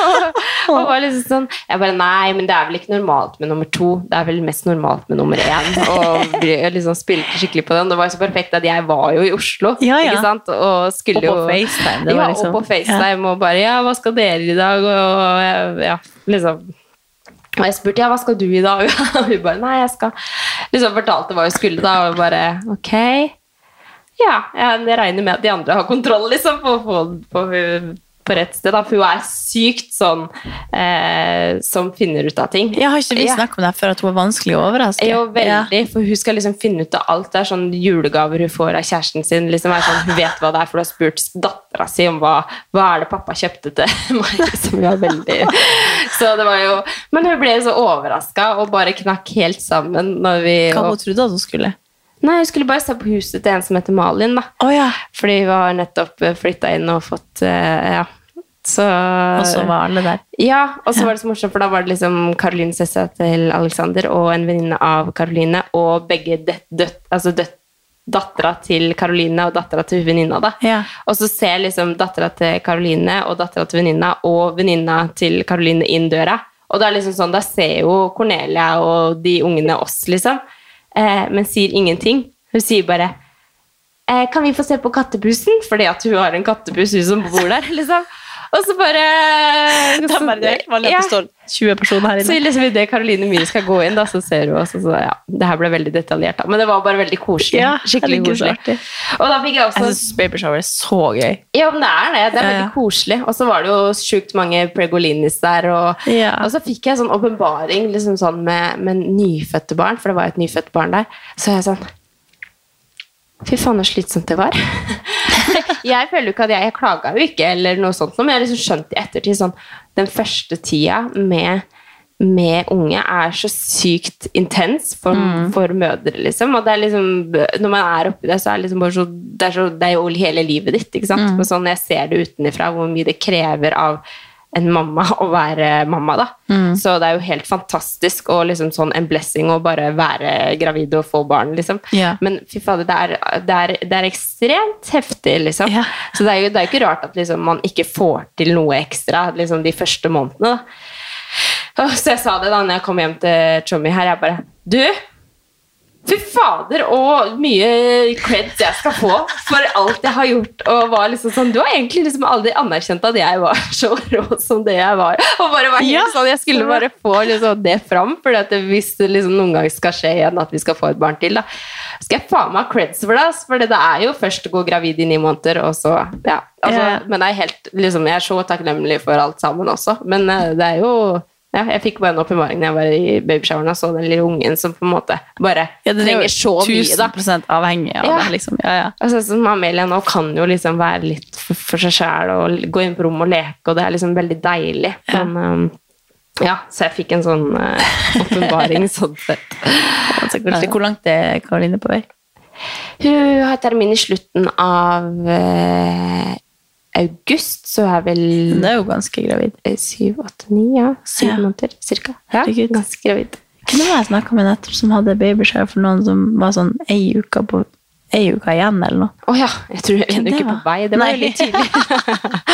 S1: Og var liksom sånn Jeg bare Nei, men det er vel ikke normalt med nummer to. Det er vel mest normalt med nummer én. Og bli- liksom spilte skikkelig på den. Det var jo så perfekt at jeg var jo i Oslo.
S2: Ja, ja.
S1: Ikke sant? Og skulle
S2: Og på
S1: jo
S2: FaceTime, det var
S1: ja,
S2: liksom-
S1: og på FaceTime og bare Ja, hva skal dere i dag? Og ja, liksom og jeg spurte ja, hva skal du i dag? Og hun bare nei, jeg skal Liksom fortalte hva hun skulle, da. Og jeg bare ok. Ja, jeg jeg regner med at de andre har kontroll liksom, på å få den på, hun- på rett sted. Da. For hun er sykt sånn eh, som finner ut av ting.
S2: Jeg har ikke vi
S1: Ja.
S2: snakket om det her før at hun var vanskelig å overraske?
S1: Jo,
S2: Ja.
S1: veldig, for hun skal liksom finne ut av alt. Det er sånn julegaver hun får av kjæresten sin. Liksom er sånn, hun vet hva det er, for hun har spurt dattera si om hva, hva er det pappa kjøpte til meg. Liksom, hun var veldig... Så det var jo... Men hun ble jo så overraska og bare knakk helt sammen når vi
S2: Hva hun trodde at hun skulle.
S1: Nei, hun skulle bare se på huset til en som heter Malin, da.
S2: Å ja.
S1: Fordi hun har nettopp flytta inn og fått eh, Ja. Så
S2: Og så var alle der.
S1: ja, og så var det så morsomt, for da var det liksom Karoline søstera til Alexander og en venninne av Karoline, og begge døtt, døtt, altså døtt, dattera til Karoline og dattera til venninna, da.
S2: Ja.
S1: Og så ser liksom dattera til Karoline og dattera til venninna og venninna til Karoline inn døra. Og da er liksom sånn, da ser jo Cornelia og de ungene oss, liksom, eh, men sier ingenting. Hun sier bare eh, Kan vi få se på kattepusen? Fordi at hun har en kattepus, hun som bor der, liksom. Og så bare eh,
S2: Da bare det er helt vanlig at det
S1: Ja.
S2: står 20 personer her
S1: Så
S2: inne.
S1: liksom idet Karoline Myhre skal gå inn, da, så ser hun også så, ja, Det her ble veldig detaljert, da. Men det var bare veldig koselig.
S2: Ja,
S1: Skikkelig
S2: herregud, så
S1: koselig.
S2: artig.
S1: Og da fikk jeg også
S2: Jeg syns babyshower er så gøy.
S1: ja, men det er det. Det er
S2: Ja,
S1: veldig
S2: ja.
S1: koselig. Og så var det jo sjukt mange pregolinis der. Og,
S2: Ja.
S1: og så fikk jeg sånn åpenbaring liksom sånn med, med nyfødte barn, for det var jo et nyfødt barn der. Så jeg sånn Fy faen, så slitsomt det var. jeg føler jo ikke at jeg, jeg klaga jo ikke, eller noe sånt, men jeg har liksom skjønt i ettertid sånn Den første tida med med unge er så sykt intens for, for mødre, liksom. Og det er liksom, når man er oppi det, så er det liksom bare så Det er, så, det er jo hele livet ditt, ikke sant. Men sånn jeg ser det utenifra, hvor mye det krever av en mamma å være mamma, da. Så det er jo helt fantastisk og liksom sånn en blessing å bare være gravid og få barn, liksom.
S2: Ja.
S1: Men fy fader, det er, det, er, det er ekstremt heftig, liksom.
S2: Ja.
S1: Så det er jo det er jo ikke rart at liksom, man ikke får til noe ekstra liksom, de første månedene, da. Åh, Så jeg sa det da når jeg kom hjem til Chommy her. Jeg bare Du! Fy fader, og mye creds jeg skal få for alt jeg har gjort. og var liksom sånn, Du har egentlig liksom aldri anerkjent at jeg var så rå som det jeg var. og bare var helt
S2: Ja.
S1: sånn, Jeg skulle bare få liksom det fram, for hvis det liksom noen gang skal skje igjen at vi skal få et barn til, da skal jeg faen meg ha creds for det. ass, For det er jo først å gå gravid i ni måneder, og så ja, altså,
S2: Ja.
S1: men jeg er, helt, liksom, jeg er så takknemlig for alt sammen også. Men eh, det er jo ja, Jeg fikk bare en åpenbaring da jeg var i babyshoweren og så den lille ungen som på en måte bare trenger så mye. da.
S2: 1000 avhengig av
S1: Ja.
S2: det, liksom. Ja, ja.
S1: Altså, som Amelia nå kan jo liksom være litt for, for seg sjæl og l- gå inn på rommet og leke, og det er liksom veldig deilig. Men ehm, ja, så jeg fikk en sånn eh, åpenbaring sånn sett.
S2: Altså, kanskje- Hvor langt er Karoline på vei?
S1: Hun har termin i slutten av eh, august, så hun er vel
S2: Hun er jo ganske gravid.
S1: eh, syv, åtte, ni, ja. Syv
S2: Ja.
S1: måneder cirka. Ja,
S2: Herregud.
S1: ganske gravid.
S2: Hvem var det jeg snakka med nettopp som hadde babyshower for noen som var sånn ei uke, på, ei uke igjen, eller noe?
S1: Å ja, jeg tror jeg er en
S2: Det
S1: uke på
S2: var-
S1: vei. Det var
S2: Nei.
S1: jo litt tidlig.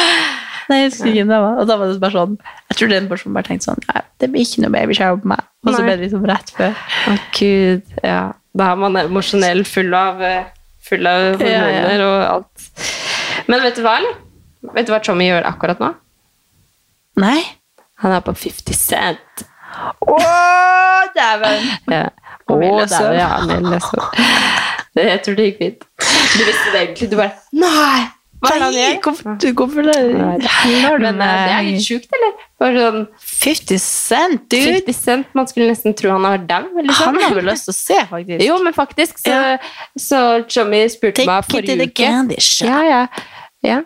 S2: Nei, jeg husker ikke hvem det var. Og da var det bare sånn Jeg tror den personen bare tenkte sånn Nei, det blir ikke noe baby shower på meg. Og så
S1: Nei.
S2: ble det liksom rett før.
S1: Å, gud. Ja. Da er man emosjonell, full av, eh, full av
S2: Ja, ja.
S1: hormoner og alt. Men vet du hva, eller? Vet du hva Tommy gjør akkurat nå?
S2: Nei.
S1: Han er på 50 Cent.
S2: Å, dæven!
S1: Ja.
S2: Og
S1: Å,
S2: Mille
S1: så-
S2: Søvn.
S1: Ja, Mille Søvn. Det- Jeg tror det gikk fint. Du visste det egentlig. Du bare Nei! Hva er det han
S2: Nei,
S1: gjør?
S2: hvorfor, du- hvorfor det?
S1: Nei, det Men eh, det er litt sjukt, eller? Bare sånn
S2: 50 cent, dude!
S1: 50 Cent. Man skulle nesten tro han var dau. eller
S2: Han
S1: sånn.
S2: har vel lyst til å se, faktisk.
S1: Jo, men faktisk. Så,
S2: Ja.
S1: så Tommy spurte
S2: Take
S1: meg
S2: it to
S1: forrige
S2: the
S1: uke.
S2: candy shop.
S1: Ja, ja. ja.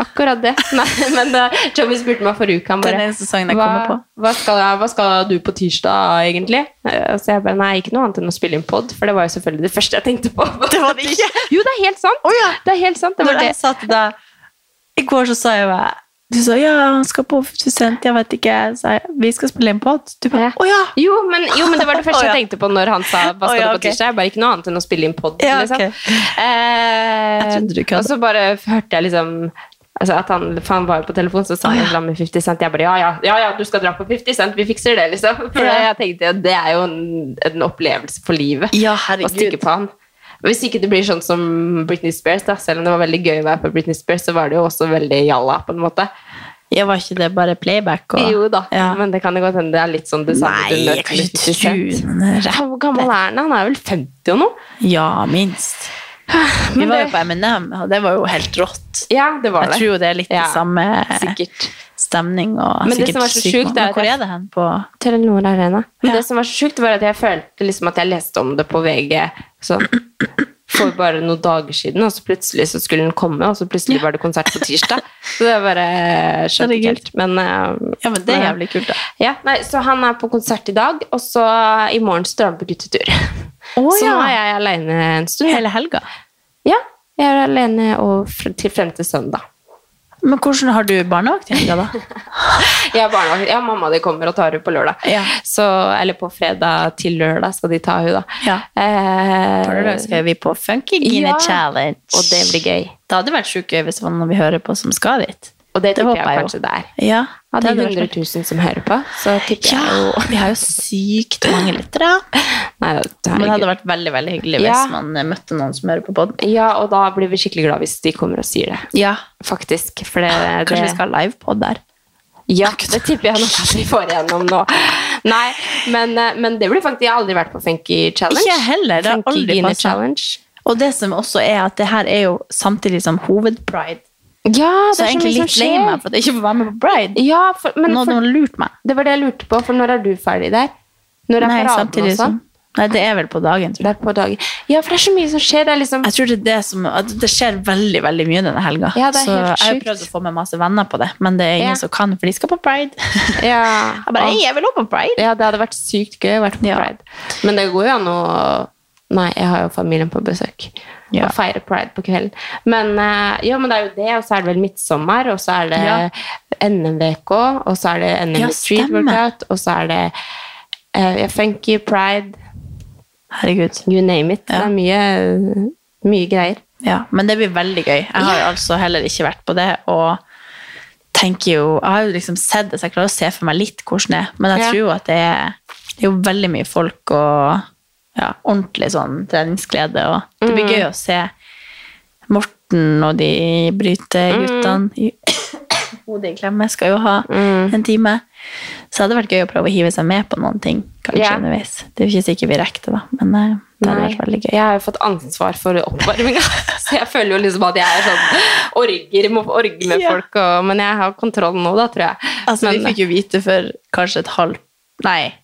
S1: Akkurat det. Nei, men da Tommy spurte meg forrige uke, han
S2: Den
S1: bare
S2: eneste sangen jeg kommer på.
S1: hva, hva, skal, jeg- hva skal du på tirsdag, egentlig? Eh, Så jeg bare Nei, ikke noe annet enn å spille inn pod, for det var jo selvfølgelig det første jeg tenkte på.
S2: Det var det ikke.
S1: Jo, det er helt sant!
S2: Å ja!
S1: Det er helt sant. Det var
S2: Når
S1: det.
S2: jeg sa til deg I går så sa jeg bare Du sa ja, han skal på 50 cent, jeg vet ikke. Så sa jeg, vi skal spille inn pod. Du bare
S1: Ja.
S2: å ja!
S1: Jo men, jo, men det var det første
S2: Å, ja.
S1: jeg tenkte på når han sa 'hva skal
S2: Å, ja,
S1: du på
S2: ok.
S1: tirsdag'. Jeg bare ikke noe annet enn å spille inn pod.
S2: Ja,
S1: liksom.
S2: ok.
S1: Eh,
S2: Jeg trodde du kødda.
S1: Og så bare hørte jeg liksom altså at han, for han var jo på telefon, så sa han
S2: Å, ja.
S1: et eller annet med 50 Cent. Jeg bare ja ja, ja, ja, du skal dra på 50 Cent, vi fikser det, liksom. For
S2: Ja.
S1: jeg tenkte at det er jo en, en opplevelse for livet
S2: Ja,
S1: å stikke på han. Hvis ikke det blir sånn som Britney Spears, da. Selv om det var veldig gøy å være på Britney Spears, så var det jo også veldig jalla, på en måte.
S2: Jeg var ikke det bare playback og
S1: Jo da,
S2: Ja.
S1: men det kan jo godt hende det er litt sånn det samme.
S2: Nei,
S1: du møter
S2: jeg kan
S1: 50
S2: ikke tro
S1: Cent.
S2: den er rett.
S1: Hvor gammel er han? Han er vel 50 og noe?
S2: Ja, minst. Vi
S1: Men
S2: var jo
S1: det-
S2: på M&M, og det var jo helt rått.
S1: Ja, det var
S2: Jeg
S1: det.
S2: tror jo det er litt
S1: Ja,
S2: det samme eh,
S1: Sikkert.
S2: stemning og
S1: Men det
S2: sikkert
S1: som er så
S2: sykt
S1: sjukt,
S2: mange.
S1: det er
S2: Men
S1: at
S2: Hvor
S1: jeg-
S2: er det hen på
S1: Telenor Arena. Men
S2: Ja.
S1: det som var så sjukt, var at jeg følte liksom at jeg leste om det på VG sånn, for bare noen dager siden, og så plutselig så skulle den komme, og så plutselig var det konsert på tirsdag. Så det bare skjønte ikke helt. Men, eh,
S2: Ja, men det er jævlig kult, da.
S1: ja, nei, så han er på konsert i dag, og så i morgen så drar han på guttetur.
S2: Å,
S1: så
S2: ja.
S1: nå er jeg aleine en stund.
S2: Hele helga.
S1: Ja, jeg er alene og fr- til frem til søndag.
S2: Men hvordan har du barnevakt i helga, da?
S1: Jeg er barnevakt. Ja, mamma de kommer og tar henne på lørdag.
S2: Ja.
S1: Så, eller på fredag til lørdag skal de ta henne, da.
S2: Ja.
S1: Eh,
S2: På lørdag skal vi på Funkygine
S1: Ja.
S2: Challenge.
S1: Og det blir gøy.
S2: Det hadde vært sjukt gøy hvis det var noen vi hører på som skal dit.
S1: Og det,
S2: Det
S1: tipper
S2: håper
S1: jeg
S2: jeg
S1: kanskje det er.
S2: Ja,
S1: Av de
S2: det hadde vært
S1: 100 000 som hører på, så tipper
S2: Ja,
S1: jeg jo
S2: vi har jo sykt mange lyttere.
S1: Nei, det
S2: Men det hadde
S1: herregud.
S2: vært veldig veldig hyggelig hvis
S1: Ja.
S2: man eh, møtte noen som hører på podden.
S1: Ja, og da blir vi skikkelig glad hvis de kommer og sier det.
S2: Ja,
S1: Faktisk. For det,
S2: Kanskje
S1: det,
S2: vi skal ha livepod der.
S1: Ja, det tipper jeg nok at vi får igjennom nå. Nei, men, eh, men det blir faktisk Jeg har aldri vært på Funky Challenge.
S2: Ikke jeg heller, det har
S1: Funky
S2: aldri
S1: Gine
S2: passet.
S1: Challenge.
S2: Og det som også er at det her er jo samtidig som hovedpride.
S1: Ja,
S2: Så
S1: det
S2: jeg
S1: er
S2: er
S1: så
S2: egentlig
S1: mye som
S2: litt lei
S1: skjer.
S2: meg for at jeg ikke får være med på pride.
S1: Ja, for, men
S2: Nå har
S1: for,
S2: noen lurt meg.
S1: det var det jeg lurte på, for når er du ferdig der? Når er
S2: Nei,
S1: paraden
S2: samtidig
S1: og
S2: som
S1: sånn?
S2: Nei, det er vel på dagen, tror jeg.
S1: Det er på dagen. Ja, for det er så mye som skjer. Det er liksom
S2: Jeg tror det er det som at Det skjer veldig veldig mye denne helga.
S1: Ja, det er
S2: så
S1: helt
S2: jeg har jo
S1: sjukt.
S2: prøvd å få med masse venner på det, men det er ingen
S1: Ja.
S2: som kan, for de skal på pride. Jeg
S1: ja,
S2: bare, «Hei, jeg vil også på pride.
S1: Ja, det hadde vært sykt gøy å være på
S2: Ja.
S1: pride. Men det går jo an å Nei, jeg har jo familien på besøk.
S2: Ja.
S1: Og feire pride på kvelden. Men, eh, ja, men det er jo det, og så er det vel midtsommer, og så er det
S2: Ja.
S1: NM-VK, og så er det NM
S2: Ja,
S1: Street
S2: stemmer.
S1: Workout, og så er det eh, ja, Funky Pride,
S2: Herregud.
S1: you name it.
S2: Ja.
S1: Det er mye, mye greier.
S2: Ja, men det blir veldig gøy. Jeg har jo altså heller ikke vært på det, og tenker jo Jeg har jo liksom sett det, så jeg klarer å se for meg litt hvordan det er, men jeg
S1: Ja.
S2: tror jo at det er, det er jo veldig mye folk og ja, ordentlig sånn treningsglede, og det
S1: Mm.
S2: blir gøy å se Morten og de bryteguttene i Hodet i klemme skal jo ha
S1: Mm.
S2: en time. Så det hadde vært gøy å prøve å hive seg med på noen ting kanskje
S1: Ja.
S2: underveis. Det er jo ikke sikkert vi rekker det, da, men eh, det hadde
S1: Nei,
S2: vært veldig gøy.
S1: Jeg har jo fått ansvar for oppvarminga, så jeg føler jo liksom at jeg er sånn orger, må orge med
S2: Ja.
S1: folk, og, men jeg har kontroll nå, da, tror jeg.
S2: Altså,
S1: men,
S2: vi fikk jo vite for kanskje et halvt Nei,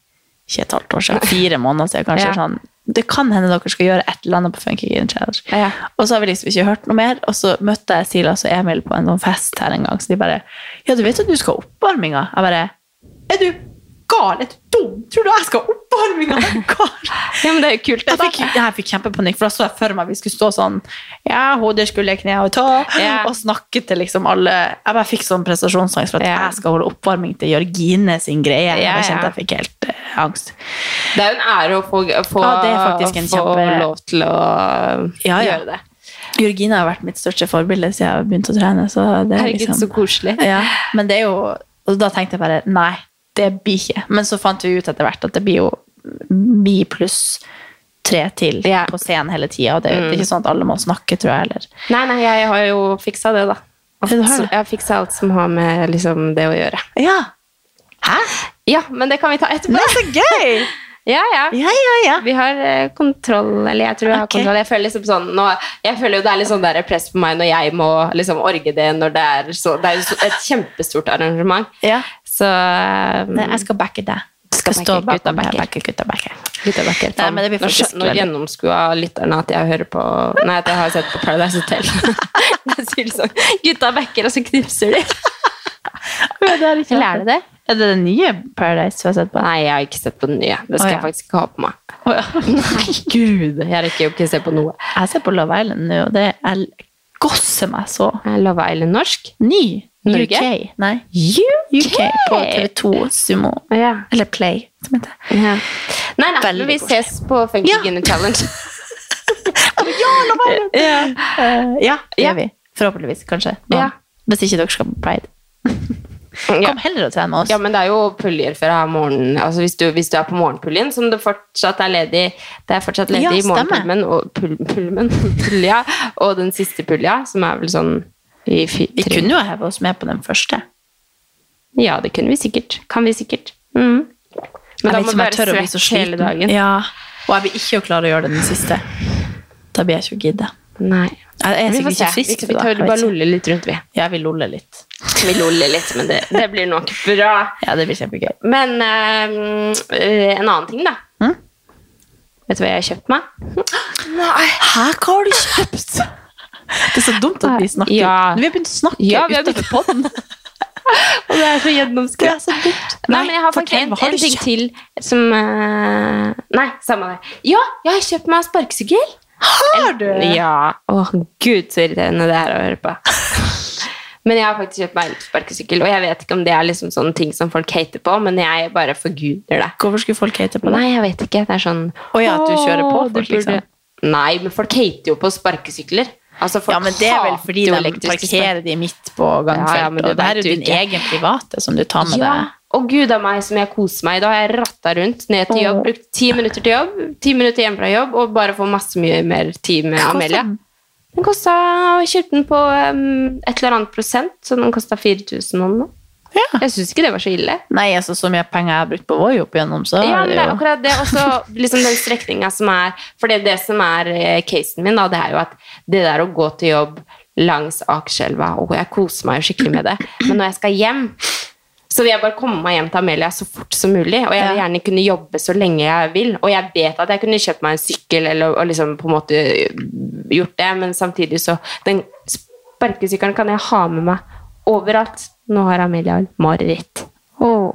S2: ikke et halvt år siden. Fire måneder siden, kanskje.
S1: Ja.
S2: sånn Det kan hende dere skal gjøre et eller annet på Funky Kid Challenge.
S1: Ja.
S2: Og så har vi liksom ikke hørt noe mer. Og så møtte jeg Silas og Emil på en sånn fest her en gang, så de bare Ja, du vet at du skal ha oppvarminga? Jeg bare Er du gal? Er du dum? Tror du jeg skal ha oppvarminga? Er du gal?
S1: ja, men det er jo kult.
S2: Jeg
S1: da.
S2: fikk, jeg fikk kjempepanikk, for da så jeg for meg vi skulle stå sånn Ja, hodet, skulder, kne og tå,
S1: Ja.
S2: og snakke til liksom alle Jeg bare fikk sånn prestasjonsangst for at
S1: Ja.
S2: jeg skal holde oppvarming til Jørgine sin greie.
S1: Ja,
S2: Jeg
S1: ja.
S2: kjente jeg fikk helt eh, angst.
S1: Det er jo en ære å få, få,
S2: Ja, det er faktisk en
S1: få
S2: kjempe-
S1: lov til å
S2: Ja, ja.
S1: gjøre det.
S2: Georgina har vært mitt største forbilde siden jeg begynte å trene. Så det er
S1: Herregud, så
S2: liksom,
S1: koselig.
S2: ja, men det er jo, og da tenkte jeg bare nei, det blir ikke. Men så fant vi ut etter hvert at det blir jo vi pluss tre til
S1: Ja. Mm.
S2: på scenen hele tida. Og det, det er ikke sånn at alle må snakke, tror jeg heller.
S1: Nei, nei, jeg har jo fiksa det, da. Alt,
S2: Ja, du har det.
S1: jeg har fiksa alt som har med liksom, det å gjøre.
S2: Ja. Hæ?
S1: Ja, men det kan vi ta etterpå.
S2: Men så gøy!
S1: Ja, ja.
S2: Ja, ja, ja.
S1: Vi har eh, kontroll, eller jeg tror jeg har
S2: Ok.
S1: kontroll. Jeg føler liksom sånn, nå, jeg føler jo det er litt sånn der press på meg når jeg må liksom orge det, når det er så, det er jo så- et kjempestort arrangement.
S2: ja.
S1: Så um,
S2: Nei, jeg skal backe deg. Skal
S1: backe,
S2: stå bak
S1: gutta
S2: meg,
S1: backer.
S2: backe, gutta backer.
S1: litt av hvert,
S2: Nei, men det blir
S1: Nå
S2: faktisk
S1: skjø- Nå
S2: veldig-
S1: gjennomskua lytterne at jeg hører på Nei, at jeg har sett på Paradise Hotel. jeg sier det sånn, gutta backer, og så knipser de. Eller er det det?
S2: Er det det nye Paradise vi har sett på?
S1: Nei, jeg har ikke sett på den nye. Det skal
S2: Å, ja.
S1: jeg faktisk ikke ha på meg.
S2: Å, ja. Nei, gud.
S1: Jeg rekker jo ikke å se på noe.
S2: Jeg ser på Love Island nå, og det er gosser meg så.
S1: Er Eh, Love Island norsk?
S2: Ny.
S1: Norge?
S2: UK. Nei.
S1: UK!
S2: UK på TV2 Sumo.
S1: Ja.
S2: Eller Play, som heter det.
S1: Ja. Nei, nei,
S2: Veldig
S1: men vi
S2: koselig.
S1: ses på Funky
S2: Ja.
S1: Guinea Challenge.
S2: Ja, Eh, ja det
S1: Ja.
S2: gjør vi. Forhåpentligvis, kanskje. Nå.
S1: Ja.
S2: Hvis ikke dere skal på Pride.
S1: ja.
S2: Kom heller og tren med oss.
S1: ja, men det er jo puljer fra morgenen. Altså, hvis, du, hvis du er på morgenpuljen, som det fortsatt er ledig Det er fortsatt ledig
S2: Ja,
S1: i
S2: stemmer.
S1: morgenpulmen og pul pulmen, pulja, og den siste pulja, som er vel sånn i fi-
S2: Vi
S1: tre-
S2: kunne jo heve oss med på den første.
S1: Ja, det kunne vi sikkert. Kan vi sikkert. Mm. Men da må
S2: jeg vet ikke
S1: du
S2: om
S1: være
S2: jeg tør å bli så
S1: svett
S2: sliten.
S1: hele dagen.
S2: Ja. Og jeg vil ikke klare å gjøre det den siste. Da blir jeg ikke å gidde.
S1: Nei.
S2: Jeg er
S1: Vi får
S2: sikkert
S1: se.
S2: ikke frisk
S1: vi, vi
S2: da.
S1: tar
S2: Jeg vet
S1: bare
S2: ikke.
S1: lolle litt rundt, vi.
S2: Ja, vi loller litt.
S1: Vi loller litt, men det, det blir nok bra.
S2: Ja, det blir kjempegøy.
S1: Men eh, eh, en annen ting, da.
S2: Mm.
S1: Vet du hva jeg har kjøpt meg? Nei.
S2: Hæ, hva har du kjøpt? Det er så dumt at vi snakker.
S1: Ja.
S2: Vi har begynt å snakke
S1: Ja, vi har
S2: utenfor podden.
S1: Og det er så
S2: Det
S1: gjennomskudd.
S2: er så dumt.
S1: Nei, men jeg har faktisk en,
S2: fortell, hva har
S1: en
S2: du
S1: ting
S2: kjøpt?
S1: til som eh, Nei, samme det. Ja, jeg har kjøpt meg sparkesykkel.
S2: Har du?
S1: Ja. Å, gud, så irriterende det er å høre på. Men jeg har faktisk kjøpt meg en sparkesykkel, og jeg vet ikke om det er liksom sånne ting som folk hater på, men jeg bare forguder det.
S2: Hvorfor skulle folk hate på deg?
S1: Nei, jeg vet ikke. Det er sånn
S2: Å ja, at du
S1: «Åh,
S2: kjører på
S1: du
S2: folk, liksom».
S1: Nei, men folk hater jo på sparkesykler. Altså, folk
S2: Ja, men det er vel
S1: hater
S2: fordi
S1: jo
S2: de
S1: elektriske
S2: parkerer de midt på gangfeltet.
S1: Ja, ja, men du
S2: og det
S1: vet
S2: her er
S1: jo
S2: jo din
S1: ikke.
S2: egen private som du tar med
S1: Ja,
S2: deg.
S1: og gud av meg som jeg koser meg i dag. Jeg ratta rundt ned til jobb,
S2: Åh.
S1: brukte ti minutter til jobb, ti minutter hjem fra jobb, og bare få masse mye mer tid med
S2: Hva koster
S1: Amelia.
S2: den?
S1: Den kosta kjøpte den på um, et eller annet prosent, så den kosta 4000 og noe.
S2: Ja.
S1: Jeg syns ikke det var så ille.
S2: Nei, altså så mye penger jeg har brukt på Voi opp igjennom, så
S1: Ja,
S2: er
S1: men
S2: det
S1: det er
S2: jo
S1: akkurat det. Og så liksom den strekninga som er For det, er det som er eh, casen min, da, det er jo at det der å gå til jobb langs Akerselva Og jeg koser meg jo skikkelig med det. Men når jeg skal hjem, så vil jeg bare komme meg hjem til Amelia så fort som mulig. Og jeg vil
S2: Ja.
S1: gjerne kunne jobbe så lenge jeg vil. Og jeg vet at jeg kunne kjøpt meg en sykkel eller og liksom på en måte gjort det, men samtidig så Den sparkesykkelen kan jeg ha med meg overalt. Nå har Amelia mareritt.
S2: Åh.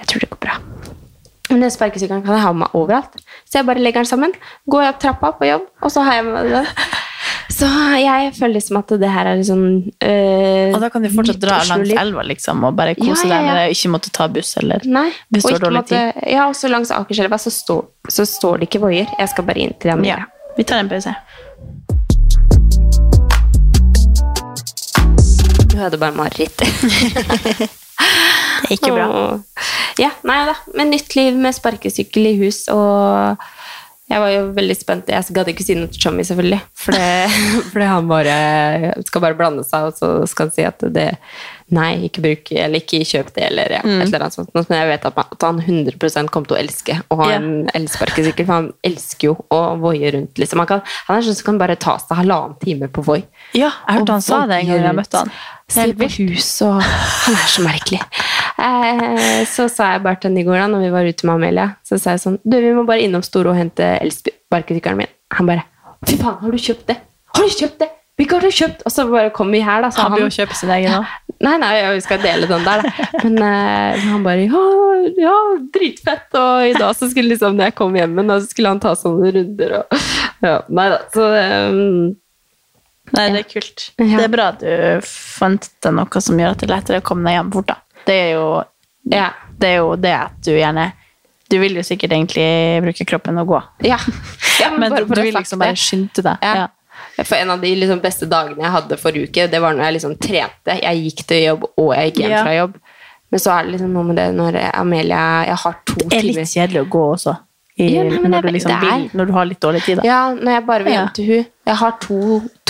S1: Jeg tror det går bra. Men den sparkesykkelen kan jeg ha med meg overalt. Så jeg bare legger den sammen, går opp trappa på jobb, og så har jeg med meg den. Så jeg føler liksom at det her er liksom eh,
S2: Og da kan du fortsatt dra
S1: nytt
S2: langs
S1: Oslo-liv.
S2: elva, liksom, og bare
S1: Ja,
S2: kose
S1: ja,
S2: deg
S1: ja.
S2: med det, og ikke måtte ta buss eller
S1: Nei.
S2: Hvis
S1: og
S2: du har
S1: ikke
S2: dårlig
S1: måtte- Ja, også langs Akerselva så, står- så står det ikke voier. Jeg skal bare inn til Amelia.
S2: Ja, vi tar en pause.
S1: Du hadde bare mareritt.
S2: Det er ikke bra.
S1: Åh. Ja, nei da. Men nytt liv med sparkesykkel i hus, og jeg var jo veldig spent. Jeg gadd ikke si noe til Tommy, selvfølgelig. For det, for det han bare skal bare blande seg, og så skal han si at det Nei, ikke bruk eller ikke kjøp det, eller ja, et eller annet sånt. Men jeg vet at, man, at han 100 kommer til å elske å ha
S2: Ja.
S1: en elsparkesykkel, for han elsker jo å voie rundt, liksom. Han, kan, han er sånn som kan bare ta seg halvannen time på voi.
S2: Ja, jeg hørte han sa det en gang jeg
S1: Voie
S2: møtte han.
S1: rundt. Ser på hus og Han er så merkelig. Eh, så sa jeg bare til han i går da når vi var ute med Amelia, så sa jeg sånn Du, vi må bare innom Storo og hente elsparkesykkelen min. Han bare Fy faen, har du kjøpt det? Har du kjøpt det? Hvilken har du kjøpt? Og så bare kom vi her, da. Så
S2: Han blir jo kjøpe sin egen òg.
S1: Nei, nei, ja, vi skal dele den der, da. Men eh, han bare ja, ja, dritfett. Og i dag så skulle liksom, når jeg kom hjem, da, så skulle han ta sånne runder og ja, Nei da. Så eh,
S2: Nei, det er kult.
S1: Ja.
S2: Det er bra at du fant deg noe som gjør at det er lettere å komme deg hjem fort. da. Det er jo
S1: eh, ja.
S2: det, er jo det at du gjerne Du vil jo sikkert egentlig bruke kroppen og gå.
S1: Ja. ja men,
S2: Men
S1: bare,
S2: du,
S1: for
S2: du
S1: å
S2: vil
S1: sagt
S2: liksom
S1: det.
S2: bare skynde deg.
S1: Ja.
S2: Ja.
S1: For en av de liksom, beste dagene jeg hadde forrige uke, det var når jeg liksom trente. Jeg gikk til jobb, og jeg gikk hjem
S2: Ja.
S1: fra jobb. Men så er det liksom noe med det når Amelia Jeg har to
S2: Det er
S1: timer
S2: litt kjedelig å gå også. I,
S1: Ja, nei, men
S2: når,
S1: jeg
S2: du liksom
S1: vet- det er-
S2: vil, når du har litt dårlig tid. Da.
S1: Ja, når jeg bare vil hjem
S2: Ja.
S1: til hun. Jeg har to,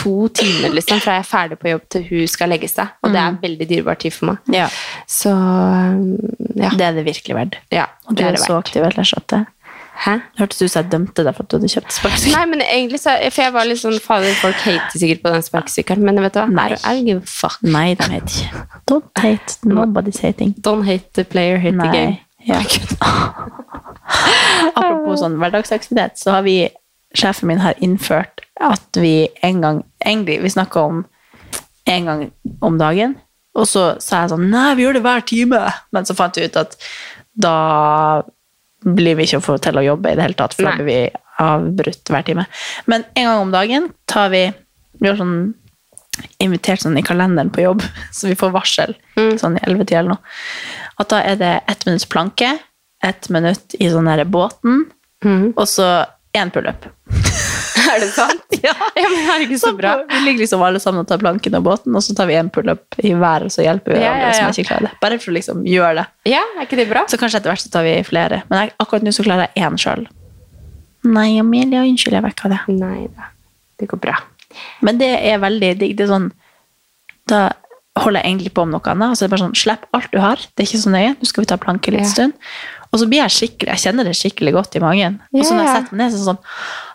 S1: to timer liksom, fra jeg er ferdig på jobb til hun skal legge seg. Og det er veldig dyrebar tid for meg.
S2: Mm. Ja.
S1: Så um, ja.
S2: Det er det virkelig verdt.
S1: ja
S2: Og du
S1: det
S2: er,
S1: er det
S2: så
S1: verdt.
S2: aktiv ellers at det
S1: Hæ?
S2: hørtes ut som jeg dømte deg for at du hadde kjøpt sparkesykkel.
S1: Nei, men egentlig så For jeg var litt sånn Fader, folk hater sikkert på den sparkesykkelen, men vet du hva?
S2: Nei.
S1: I don't give a fuck.
S2: Nei, de heter ikke Don't hate. Nobody's hating.
S1: Don't hate the player, hate the game.
S2: Nei. Ja. Apropos sånn hverdagsaktivitet, så har vi Sjefen min har innført at vi en gang egentlig, Vi snakka om en gang om dagen, og så sa jeg sånn Nei, vi gjør det hver time. Men så fant vi ut at da blir vi ikke å få til å jobbe i det hele tatt, for
S1: Nei.
S2: da blir vi avbrutt hver time. Men en gang om dagen tar vi Vi gjør sånn invitert sånn i kalenderen på jobb, så vi får varsel sånn i 11 eller noe. At da er det ett minutts planke, ett minutt i sånn der båten, og så én pullup.
S1: Er det sant?
S2: Ja.
S1: Ja, men herregud, så
S2: Så
S1: bra.
S2: Vi ligger liksom alle sammen og tar planken og båten, og så tar vi én pullup i hver, og så hjelper vi
S1: Ja,
S2: hverandre
S1: ja, ja.
S2: som ikke klarer det. Bare for å liksom gjøre det.
S1: Ja, er ikke det bra?
S2: Så kanskje etter hvert så tar vi flere. Men jeg, akkurat nå så klarer jeg én sjøl. Nei, Amelia, unnskyld, jeg vekka deg.
S1: Nei da. Det går bra.
S2: Men det er veldig digg. Det er sånn Da holder jeg egentlig på om noe annet. Og så er det bare sånn Slipp alt du har. Det er ikke så nøye. Nå skal vi ta planke litt
S1: Ja.
S2: stund. Og så blir jeg skikkelig Jeg kjenner det skikkelig godt i magen. Og så når
S1: Ja.
S2: jeg setter meg ned, så er det sånn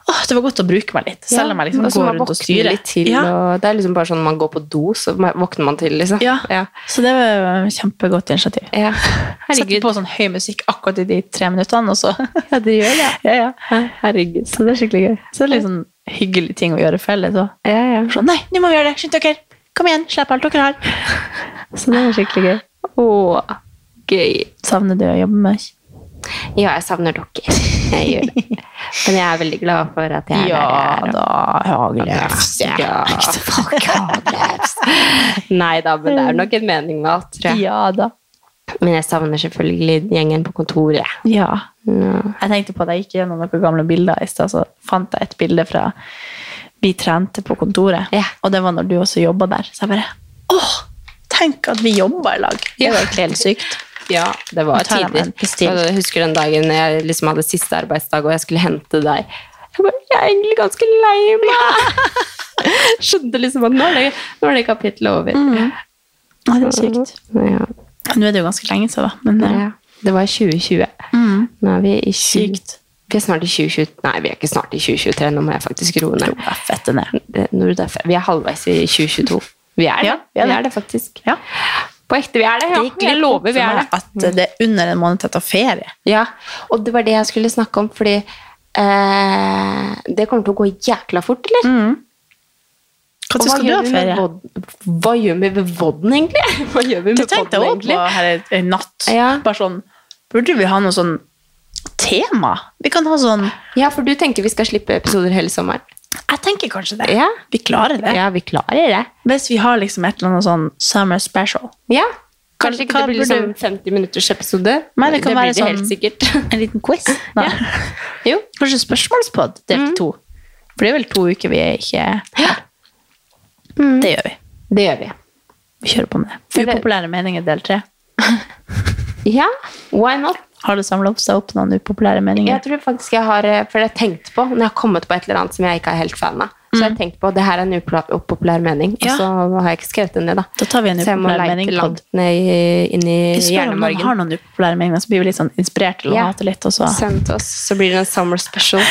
S2: Åh, det var godt å bruke meg litt. Selv om jeg liksom
S1: Ja, så
S2: går
S1: man
S2: rundt og
S1: våkner
S2: styrer.
S1: Litt til,
S2: ja.
S1: og det er liksom bare sånn man går på do, så ma- våkner man til, liksom.
S2: Ja.
S1: ja.
S2: Så det var et kjempegodt initiativ.
S1: Ja.
S2: Setter
S1: Herregud.
S2: på sånn høy musikk akkurat i de tre minuttene, og så
S1: Ja, det gjør det.
S2: Ja, ja.
S1: Herregud.
S2: Så det er skikkelig gøy. Så det er litt sånn hyggelig ting å gjøre felles òg.
S1: Ja, ja.
S2: Sånn Nei, nå må vi gjøre det! Skynd dere! Kom igjen! Slipp alt dere har! Så det er skikkelig gøy.
S1: Åh, gøy.
S2: Savner du å jobbe med?
S1: Ja, jeg savner dere. Jeg gjør det. Men jeg er veldig glad for at jeg er der jeg er. og-
S2: da, Hageløft.
S1: Ja. Fuck, Haglefs. Nei da, men det er nok en mening med alt, tror jeg.
S2: Ja da.
S1: Men jeg savner selvfølgelig gjengen på kontoret.
S2: Ja.
S1: Ja.
S2: Jeg tenkte på at jeg gikk gjennom noen gamle bilder i stad, så fant jeg et bilde fra vi trente på kontoret.
S1: Ja.
S2: Og det var når du også jobba der. Så jeg bare åh, tenk at vi jobba i lag! Det
S1: Ja.
S2: var egentlig helt sykt.
S1: Ja, det var
S2: Nå tar jeg meg
S1: tider.
S2: en pistill.
S1: Og Jeg husker den dagen jeg liksom hadde siste arbeidsdag, og jeg skulle hente deg. Jeg, bare, jeg er egentlig ganske lei meg. Skjønte liksom at nå er det, nå er det kapittelet over.
S2: Ja, det er sykt.
S1: Ja,
S2: Nå er det jo ganske lenge siden, da. Men eh,
S1: ja. Det var 2020.
S2: Mm.
S1: Nå er vi i 20,
S2: sykt.
S1: Vi er snart i 2020. Nei, vi er ikke snart i 2023. Nå må jeg faktisk roe ned.
S2: Jeg fetter ned.
S1: Det- når det er fe- Vi er halvveis i 2022. Vi er det.
S2: Ja,
S1: vi, er det. faktisk.
S2: Ja.
S1: På ekte, vi er det. Ja. Jeg lover, vi er det.
S2: At det er under en måned til å ta ferie.
S1: Ja, og det var det jeg skulle snakke om, fordi eh, det kommer til å gå jækla fort, eller? Og
S2: Når
S1: hva
S2: Mm. skal du
S1: gjør
S2: ha
S1: vi med
S2: ferie?
S1: vod- Hva gjør vi med vodden, egentlig? Hva gjør vi
S2: Det
S1: med
S2: tenkte
S1: vodden,
S2: jeg også
S1: egentlig?
S2: på her en- en natt.
S1: Ja.
S2: Bare sånn, burde vi ha noe sånn tema? Vi kan ha sånn,
S1: Ja, for du tenker vi skal slippe episoder hele sommeren.
S2: jeg tenker kanskje det.
S1: Ja.
S2: Vi klarer det.
S1: Ja, vi klarer det.
S2: Hvis vi har liksom et eller annet sånn summer special.
S1: Ja.
S2: Kan-
S1: Kanskje ikke
S2: hva
S1: det blir
S2: burde-
S1: liksom 50 minutters episode.
S2: Nei, det kan
S1: blir
S2: være
S1: det helt
S2: sånn-
S1: sikkert.
S2: En liten quiz. Mm.
S1: Ja. Jo.
S2: Kanskje spørsmålspod delt i to. For det er vel to uker vi er ikke...
S1: Mm.
S2: Det gjør vi.
S1: Det gjør vi.
S2: Vi kjører på med det.
S1: Er det-
S2: Upopulære meninger del tre.
S1: Ja, why not?
S2: Har det samlet opp seg opp noen upopulære meninger?
S1: Jeg tror faktisk jeg har eh, For jeg har tenkt på Når jeg har kommet på et eller annet som jeg ikke er helt fan av Så jeg har tenkt på Det her er en upopulær upopulær mening
S2: Mm. Ja.
S1: Og så har jeg ikke skrevet den ned da
S2: Da tar vi en
S1: Så jeg må
S2: upopulær
S1: leite
S2: mening på
S1: langt ned i, inn i
S2: Vi spør om noen har
S1: hjernemargen
S2: noen upopulære meninger, så blir vi litt sånn inspirert til å
S1: Ja.
S2: hate litt. Og så.
S1: Send til oss Så blir det en summer special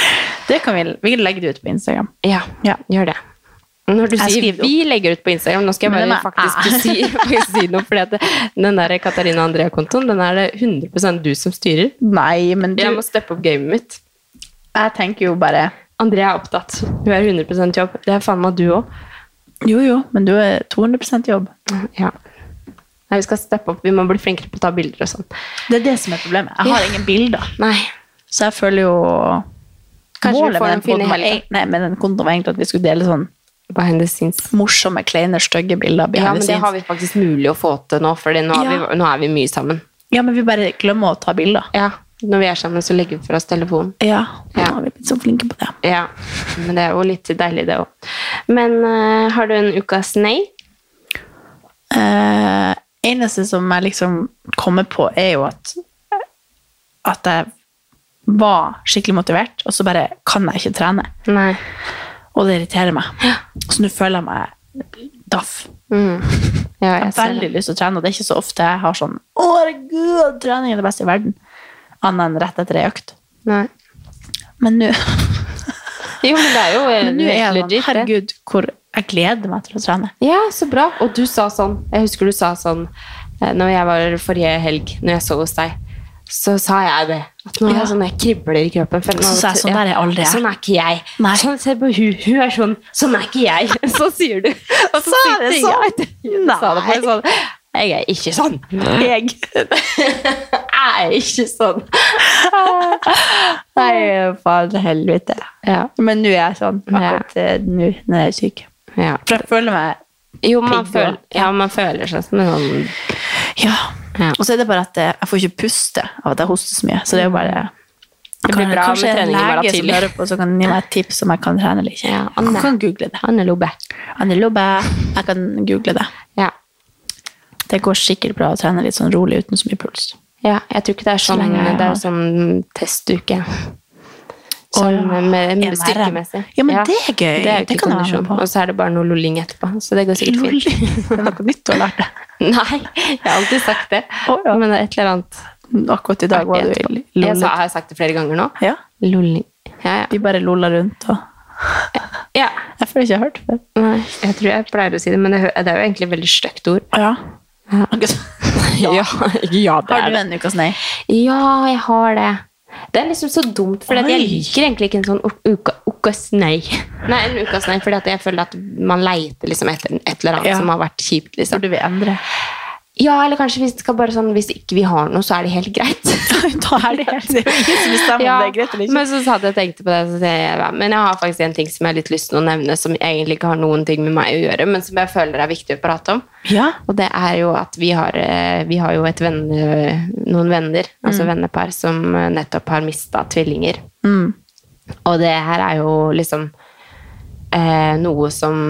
S2: Det kan vi, vi kan legge det ut på Instagram.
S1: Ja,
S2: Ja.
S1: gjør det når du
S2: Jeg
S1: sier
S2: skriver det opp.
S1: vi legger ut på Instagram, nå skal jeg bare
S2: Men den er-
S1: faktisk si, faktisk si noe, fordi at det- den der Katarina Andrea-kontoen, den er det 100% du som styrer.
S2: Nei, men du,
S1: Jeg må steppe opp gamet mitt.
S2: jeg tenker jo bare
S1: Andrea er opptatt. Hun er 100% jobb. Det er faen meg du også.
S2: Jo, jo, men du er 200 jobb.
S1: Ja. Nei, vi skal steppe opp. Vi må bli flinkere på å ta bilder og sånn.
S2: Det er det som er problemet. Jeg har
S1: Ja.
S2: ingen bilder.
S1: Nei.
S2: Så jeg føler jo
S1: Kanskje vi får
S2: med
S1: noen
S2: den,
S1: fine
S2: podden var
S1: helger.
S2: eg- nei, men den kontoen var egentlig at vi skulle dele sånn
S1: Behind the scenes.
S2: morsomme, kleine, stygge bilder.
S1: Ja,
S2: behind
S1: men
S2: the
S1: det
S2: scenes.
S1: har vi faktisk mulig å få til nå, for nå, er
S2: Ja.
S1: vi- nå er vi mye sammen.
S2: ja, men vi bare glemmer å ta bilder.
S1: Ja. Når vi er sammen, så legger vi fra oss telefonen.
S2: Ja, nå
S1: Ja.
S2: har vi blitt så flinke på det.
S1: Ja, men det er jo litt deilig, det òg. Men eh, har du en ukas nei?
S2: Eh, eneste som jeg liksom kommer på, er jo at at jeg var skikkelig motivert, og så bare kan jeg ikke trene.
S1: Nei.
S2: Og det irriterer meg. Så nå føler jeg meg daff.
S1: Mm. Ja,
S2: Jeg
S1: jeg ser
S2: har
S1: det.
S2: veldig lyst til å trene, og det er ikke så ofte jeg har sånn Å, herregud, trening er det beste i verden. Annet enn rett etter ei økt.
S1: Nei.
S2: Men nå
S1: Jo, men det er jo eh,
S2: men nå er
S1: helt
S2: jeg sånn
S1: legit. det.
S2: Herregud, hvor jeg gleder meg til å trene.
S1: Ja, så bra. Og du sa sånn Jeg husker du sa sånn eh, når jeg var forrige helg, når jeg sov hos deg, så sa jeg det. At nå er
S2: Ja.
S1: jeg sånn jeg kribler i kroppen. for nå-
S2: Så sa jeg, sånn
S1: ja.
S2: der er jeg aldri jeg.
S1: Sånn er ikke jeg.
S2: Nei.
S1: Sånn, se på hun. Hun er sånn. Sånn er ikke jeg. Så sier du. Og så
S2: Sa jeg det sånn?
S1: sitter jeg-
S2: Nei.
S1: Sa det bare sånn. Jeg er ikke sånn.
S2: Jeg.
S1: Jeg er ikke sånn.
S2: Nei, faen helvete.
S1: Ja.
S2: Men nå er jeg sånn akkurat eh, nå når jeg er syk.
S1: ja.
S2: For jeg føler meg
S1: Jo, man
S2: Pigg,
S1: føler, ja, man føler seg som en sånn
S2: Ja.
S1: Ja.
S2: Og så er det bare at eh, jeg får ikke puste av at jeg hoster så mye. Så det er jo bare
S1: Det blir bra
S2: Kanskje
S1: med
S2: en
S1: trening i morgen
S2: lege som
S1: tidlig.
S2: hører på, så kan gi meg et tips om jeg kan trene eller ikke.
S1: Ja,
S2: Du
S1: Anne.
S2: kan google det.
S1: Anne Lobbe.
S2: Anne Lobbe, jeg kan google det.
S1: Ja.
S2: Det går sikkert bra å trene litt sånn rolig uten så mye puls.
S1: Ja, jeg tror ikke det er
S2: Så
S1: sånn,
S2: lenge jeg
S1: det er
S2: har-
S1: sånn testuke. Sånn
S2: Åh,
S1: med, med
S2: MRM.
S1: styrkemessig.
S2: Ja, men det er gøy.
S1: Det er jo
S2: Det
S1: ikke
S2: kan jeg være med
S1: kondisjon.
S2: på.
S1: Og så er det bare noe lolling etterpå, så det går sikkert
S2: Rolig.
S1: fint.
S2: Det er noe nytt du har lært deg.
S1: Nei, jeg har alltid sagt det.
S2: Å, ja.
S1: Men det er et eller annet.
S2: Akkurat i dag var du
S1: artig etterpå.
S2: i
S1: Jeg sa,
S2: lolla.
S1: har jeg sagt det flere ganger nå.
S2: Ja,
S1: Lolling. Ja, ja.
S2: vi bare lolla rundt. Og...
S1: ja.
S2: Jeg føler ikke jeg har hørt det før.
S1: Nei, jeg tror jeg pleier å si det, men det hø- det er jo egentlig et veldig stygt ord.
S2: Ja.
S1: Ja. Ja, ja, det
S2: Har
S1: er
S2: du
S1: det.
S2: en ukas nei?
S1: Ja, jeg har det. Det er liksom så dumt, for jeg
S2: Oi.
S1: liker egentlig ikke en sånn u- uka, ukas nei. Nei, en ukas nei, fordi at jeg føler at man leiter liksom etter et eller annet
S2: Ja.
S1: som har vært kjipt. liksom.
S2: Burde vi endre?
S1: Ja, eller kanskje hvis, det skal bare sånn, hvis ikke vi har noe, så er det helt greit.
S2: da er det helt det er jo ingen som bestemmer
S1: Ja,
S2: om det er greit eller ikke.
S1: men så satt jeg og tenkte på det, så sier jeg, ja, men jeg har faktisk en ting som jeg har litt lyst til å nevne, som egentlig ikke har noen ting med meg å gjøre, men som jeg føler er viktig å prate om.
S2: Ja.
S1: Og det er jo at vi har, eh, vi har jo et venne, noen venner, altså vennepar, som eh, nettopp har mista tvillinger.
S2: Mm.
S1: Og det her er jo liksom eh, noe som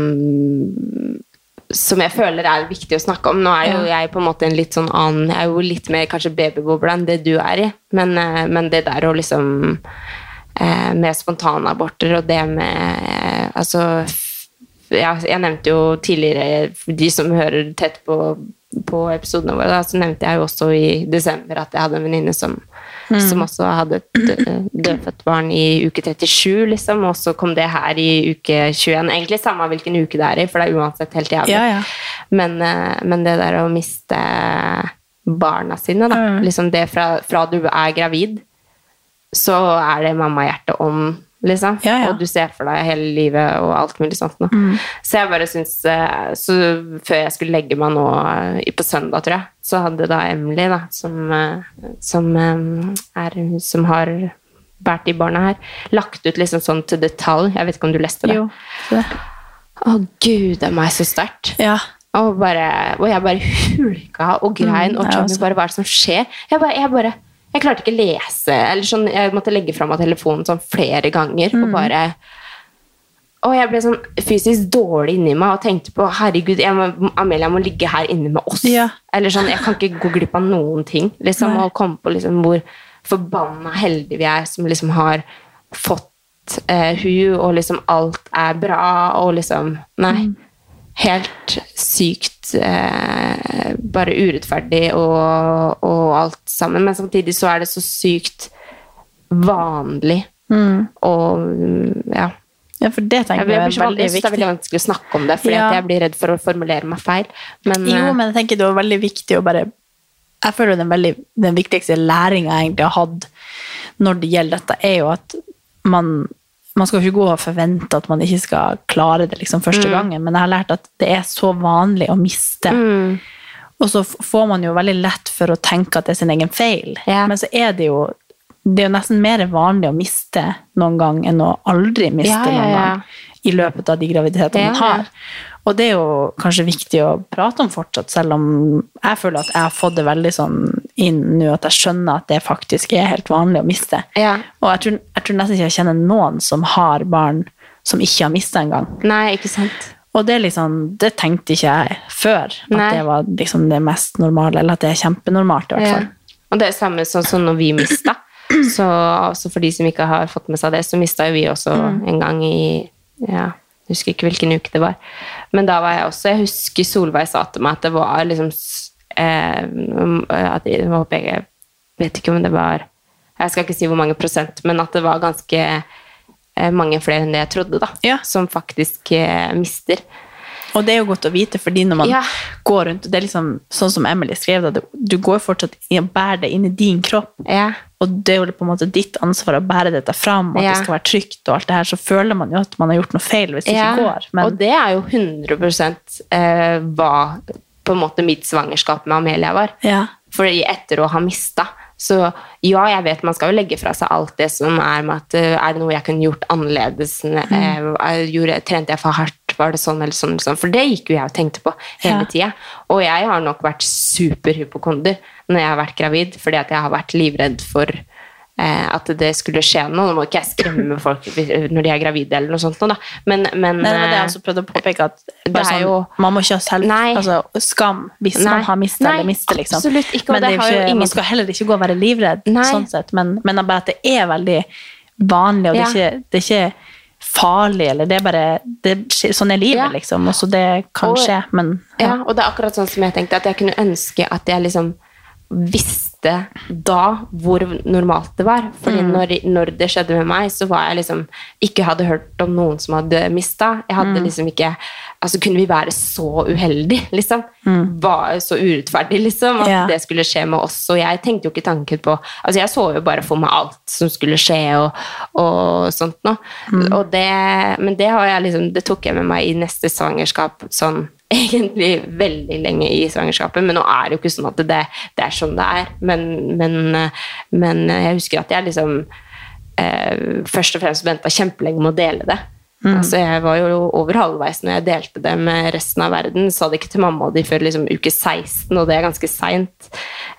S1: som jeg føler er viktig å snakke om. Nå er jo jeg på en måte en litt sånn annen Jeg er jo litt mer kanskje babybobla enn det du er i, men, eh, men det der å liksom eh, Med spontanaborter og det med eh, Altså f- ja, Jeg nevnte jo tidligere, for de som hører tett på, på episodene våre, da, så nevnte jeg jo også i desember at jeg hadde en venninne som, som også hadde et dø- dødfødt barn i uke 37, liksom, og så kom det her i uke 21. Egentlig samme hvilken uke det er i, for det er uansett helt jævlig.
S2: Ja, ja.
S1: Men, eh, men det der å miste barna sine, da,
S2: Mm.
S1: liksom det fra, fra du er gravid, så er det mammahjertet om, liksom.
S2: Ja, ja. Mm.
S1: Og du ser for deg hele livet og alt mulig sånt. nå. Så jeg bare syns eh, Så før jeg skulle legge meg nå eh, på søndag, tror jeg, så hadde da Emily, da, som, eh, som eh, er hun som har båret de barna her, lagt ut liksom sånn til detalj. Jeg vet ikke om du leste det?
S2: Jo. Det.
S1: Å, gud, det er meg så sterkt.
S2: Ja.
S1: Og, bare, og jeg bare hulka og grein,
S2: Mm,
S1: og
S2: jeg
S1: Tommy
S2: også.
S1: bare Hva er det som skjer? Jeg bare, jeg bare jeg klarte ikke å lese. eller sånn, Jeg måtte legge fra meg telefonen sånn flere ganger.
S2: Mm.
S1: Og bare og jeg ble sånn fysisk dårlig inni meg og tenkte på herregud, jeg må, Amelia må ligge her inne med oss.
S2: Ja.
S1: Eller sånn, Jeg kan ikke gå glipp av noen ting. liksom,
S2: Nei.
S1: Og komme på liksom hvor forbanna heldige vi er som liksom har fått eh, hun, og liksom alt er bra, og liksom Nei.
S2: Mm.
S1: Helt sykt eh, bare urettferdig og, og alt sammen. Men samtidig så er det så sykt vanlig
S2: Mm.
S1: og ja.
S2: ja, for det
S1: Jeg
S2: tenker
S1: blir jeg blir
S2: jeg er
S1: så vanskelig,
S2: veldig
S1: jeg synes det er
S2: viktig.
S1: veldig vanskelig å snakke om det, fordi
S2: Ja.
S1: at jeg blir redd for å formulere meg feil. Men,
S2: Jo,
S1: eh,
S2: men jeg tenker det var veldig viktig å bare Jeg føler den, veldig, den viktigste læringa jeg egentlig har hatt når det gjelder dette, er jo at man man skal jo ikke gå og forvente at man ikke skal klare det liksom første
S1: Mm.
S2: gangen, men jeg har lært at det er så vanlig å miste.
S1: Mm.
S2: Og så f- får man jo veldig lett for å tenke at det er sin egen feil.
S1: Ja.
S2: Men så er det jo det er jo nesten mer vanlig å miste noen gang enn å aldri miste
S1: Ja, ja,
S2: noen
S1: ja.
S2: gang i løpet av de graviditetene
S1: Ja,
S2: man
S1: ja.
S2: har. Og det er jo kanskje viktig å prate om fortsatt, selv om jeg føler at jeg har fått det veldig sånn inn nå at jeg skjønner at det faktisk er helt vanlig å miste.
S1: Ja.
S2: Og jeg tror, jeg tror nesten ikke jeg kjenner noen som har barn som ikke har mista engang.
S1: Nei, ikke sant.
S2: Og det, er liksom, det tenkte ikke jeg før, at
S1: Nei.
S2: det var liksom det mest normale, eller at det er kjempenormalt i hvert
S1: Ja.
S2: fall.
S1: Og det er samme sånn som når vi mista. Så altså for de som ikke har fått med seg det, så mista jo vi også en gang i ja, Jeg husker ikke hvilken uke det var. Men da var jeg også Jeg husker Solveig sa til meg at det var liksom s- eh, at jeg, jeg håper jeg jeg vet ikke om det var Jeg skal ikke si hvor mange prosent, men at det var ganske eh, mange flere enn det jeg trodde, da.
S2: Ja.
S1: Som faktisk eh, mister.
S2: Og det er jo godt å vite, fordi når man
S1: Ja.
S2: går rundt Det er liksom sånn som Emily skrev, da. det- Du går fortsatt i og bærer det inn i din kropp.
S1: Ja.
S2: Og det er jo på en måte ditt ansvar å bære dette fram, og at
S1: Ja.
S2: det skal være trygt, og alt det her, så føler man jo at man har gjort noe feil hvis det
S1: Ja,
S2: ikke går. Men
S1: Og det er jo 100 eh, hva på en måte mitt svangerskap med Amelia var.
S2: ja.
S1: Fordi etter å ha mista Så ja, jeg vet man skal jo legge fra seg alt det som er med at eh, Er det noe jeg kunne gjort annerledes?
S2: Mm.
S1: Eh, jeg gjorde, trente jeg for hardt? Var det sånn eller sånn? Eller sånn? For det gikk jo jeg og tenkte på hele
S2: Ja.
S1: tida. Og jeg har nok vært superhypokonder når jeg har vært gravid, fordi at jeg har vært livredd for eh, at det skulle skje noe. Nå må ikke jeg skremme folk når de er gravide, eller noe sånt. nå, Da. Men, men
S2: Nei, det altså var det
S1: eh,
S2: jeg også prøvde å påpeke, at
S1: det
S2: bare
S1: er
S2: sånn,
S1: jo-
S2: man må ikke ha selv,
S1: Nei.
S2: altså, skam hvis man
S1: Nei.
S2: har mistet
S1: Nei,
S2: eller mister, liksom.
S1: absolutt ikke, og
S2: men
S1: det
S2: det er jo
S1: har jo
S2: ikke,
S1: ingen-
S2: man skal heller ikke gå og være livredd,
S1: Nei.
S2: sånn sett, men, men bare at det er veldig vanlig, og det, er
S1: Ja.
S2: ikke, det er ikke farlig, eller det er bare, det, skjer- sånn er livet,
S1: Ja.
S2: liksom, og så det kan
S1: Og-
S2: skje, men
S1: Ja, og det er akkurat sånn som jeg tenkte, at jeg kunne ønske at jeg liksom visste da hvor normalt det var. Fordi når, når det skjedde med meg, så var jeg liksom ikke hadde hørt om noen som hadde mista. Jeg hadde liksom ikke Altså, kunne vi være så uheldige, liksom? Var så urettferdig, liksom? At
S2: Ja.
S1: det skulle skje med oss. Og jeg tenkte jo ikke tanken på Altså, jeg så jo bare for meg alt som skulle skje, og, og sånt noe. Og det, men det har jeg liksom Det tok jeg med meg i neste svangerskap, sånn egentlig veldig lenge i svangerskapet. Men nå er det jo ikke sånn at det, det er sånn det er. Men, men, eh, men jeg husker at jeg liksom eh, først og fremst venta kjempelenge med å dele det. Altså, jeg var jo over halvveis når jeg delte det med resten av verden. Sa det ikke til mamma og de før liksom, uke 16, og det er ganske seint.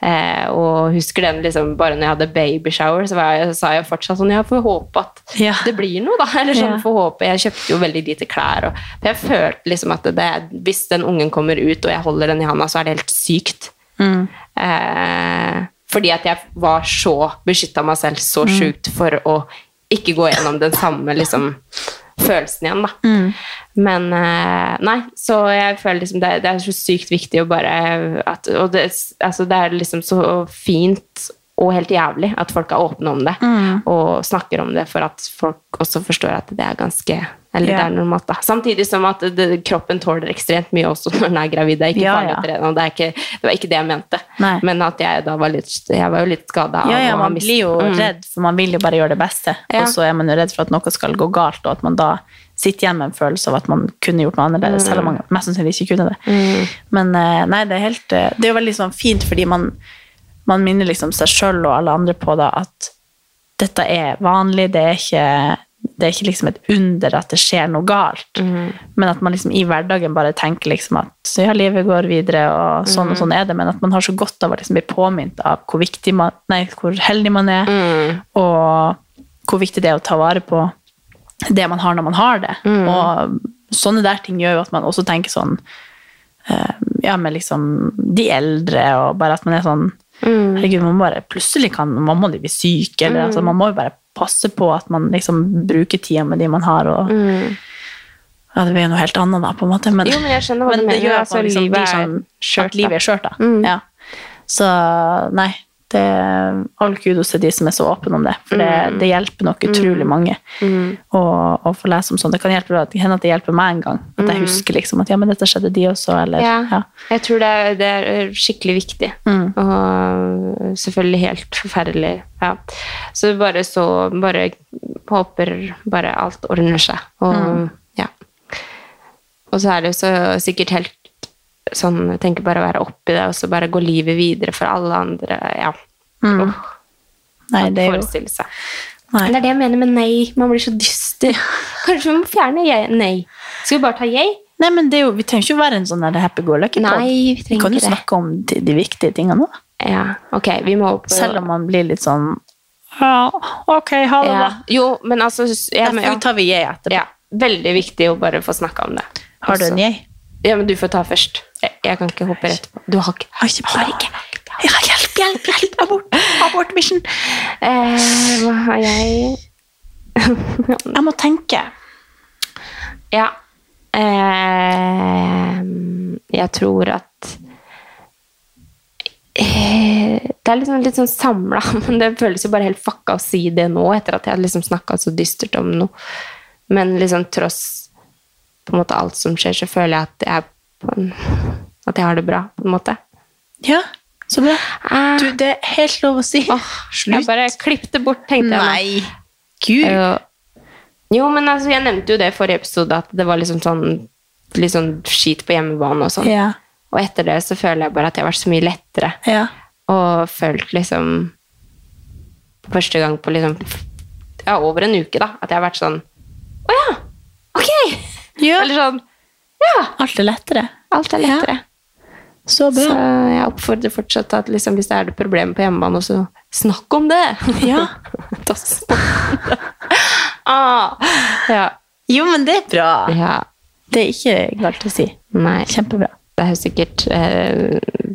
S1: Eh, og husker den liksom, bare når jeg hadde babyshower, så var jeg, sa jeg fortsatt sånn Ja, får håpe at
S2: Ja.
S1: det blir noe, da. Eller sånn,
S2: Ja.
S1: får håpe. Jeg kjøpte jo veldig lite klær. Og, for jeg følte liksom at det, hvis den ungen kommer ut, og jeg holder den i handa, så er det helt sykt. Eh, fordi at jeg var så beskytta meg selv så sjukt for å ikke gå gjennom den samme liksom, følelsen igjen, da. Men eh, nei, så jeg føler liksom det, det er så sykt viktig å bare at, Og det, altså det er liksom så fint og helt jævlig at folk er åpne om det
S2: Mm.
S1: og snakker om det for at folk også forstår at det er ganske eller
S2: Ja.
S1: det er normalt da. Samtidig som at det, kroppen tåler ekstremt mye også når den er gravid. Det er ikke
S2: Ja,
S1: farlig
S2: ja.
S1: å trene, og det, er ikke, det var ikke det jeg mente.
S2: Nei.
S1: Men at jeg da var litt, jeg var jo litt skada
S2: Ja, ja,
S1: av å ha
S2: man
S1: mist-
S2: blir jo
S1: Mm.
S2: redd, for man vil jo bare gjøre det beste.
S1: Ja.
S2: Og så er man jo redd for at noe skal gå galt, og at man da sitter igjen med en følelse av at man kunne gjort noe annerledes, selv om
S1: Mm.
S2: man mest sannsynlig ikke kunne det. Men eh, nei, det er, helt, eh, det er jo veldig sånn fint, fordi man, man minner liksom seg sjøl og alle andre på da, at dette er vanlig, det er ikke, det er ikke liksom et under at det skjer noe galt. Men at man liksom i hverdagen bare tenker liksom at ja, livet går videre, og sånn og sånn er det. Men at man har så godt av å liksom bli påminnet av hvor, viktig man, nei, hvor heldig man er, og hvor viktig det er å ta vare på det man har når man har det. Og sånne der ting gjør jo at man også tenker sånn eh, ja, med liksom de eldre, og bare at man er sånn
S1: Mm.
S2: Herregud, man bare plutselig kan Man må jo bli syk, eller altså, man må jo bare passe på at man liksom bruker tida med de man har, og Ja, det blir jo noe helt annet, da, på en måte, men
S1: Mm. Jo, men jeg skjønner hva du
S2: men det
S1: mener.
S2: gjør at
S1: Altså,
S2: man liksom
S1: livet
S2: blir
S1: er
S2: sånn
S1: skjørt,
S2: at livet
S1: da. Mm.
S2: er skjørt, da. Ja. Så nei, det all kudos til de som er så åpne om det, for det,
S1: Mm.
S2: det hjelper nok utrolig mange å, å få lese om sånt. sånn, Det kan hjelpe at, hende at det hjelper meg en gang, at jeg husker liksom at ja, men dette skjedde de også, eller
S1: Mm. Ja.
S2: ja. Mm.
S1: Jeg tror det er, det er skikkelig viktig. Og selvfølgelig helt forferdelig. Ja. Så bare så Bare håper bare alt ordner seg. Og,
S2: Mm.
S1: ja. og så er det jo så sikkert helt sånn Jeg tenker bare å være oppi det, og så bare gå livet videre for alle andre. Ja. Åh,
S2: Nei,
S1: kan
S2: det er jo
S1: forestille seg.
S2: Nei.
S1: Men Det er det jeg mener med nei. Man blir så dyster. Kanskje vi må fjerne jeg- nei. Skal vi bare ta yay?
S2: Nei, men det er jo, vi trenger ikke å være en sånn der happy go lucky
S1: Nei, vi trenger
S2: kan jo
S1: ikke det.
S2: snakke om de, de viktige tingene, da.
S1: Ja, ok, vi må opp.
S2: Selv om man blir litt sånn Ja, ok, ha det,
S1: ja.
S2: da.
S1: Jo, men altså ja, men, ja.
S2: tar vi jeg etterpå.
S1: ja, Veldig viktig å bare få snakka om det.
S2: Har du en
S1: Også-
S2: jeg?
S1: Ja, men du får ta først. Jeg, jeg kan ikke hoppe rett på. Du har ikke
S2: Har ikke
S1: Har ikke.
S2: Ja, hjelp, hjelp, hjelp! Abort! Abort mission!
S1: eh, Hva har jeg
S2: Jeg må tenke.
S1: Ja. Eh, jeg tror at eh, Det er liksom litt sånn samla, men det føles jo bare helt fucka å si det nå, etter at jeg har liksom snakka så dystert om noe. Men liksom tross på en måte alt som skjer, så føler jeg at jeg, er på en, at jeg har det bra, på en måte.
S2: Ja, så bra.
S1: Ah,
S2: Du, det er helt lov å si.
S1: åh, Jeg bare klippet det bort, tenkte jeg. nå.
S2: Ah, Nei. Gud.
S1: Eh, Jo, men altså, jeg nevnte jo det i forrige episode, at det var liksom sånn, litt sånn skit på hjemmebane og sånn.
S2: Ja.
S1: Og etter det så føler jeg bare at jeg har vært så mye lettere.
S2: ja.
S1: Og følt liksom på Første gang på liksom Ja, over en uke, da. At jeg har vært sånn Å ja! Ok!
S2: Ja.
S1: Eller sånn Ja!
S2: Alt er lettere.
S1: Alt er lettere. Så
S2: Så bra.
S1: jeg oppfordrer fortsatt til at liksom, hvis det er det problemet på hjemmebane, så snakk om det!
S2: Ja.
S1: Ta sport. ah, ja.
S2: Jo, men det er bra.
S1: ja.
S2: Det er ikke galt å si.
S1: Nei.
S2: Kjempebra.
S1: det er jo sikkert eh,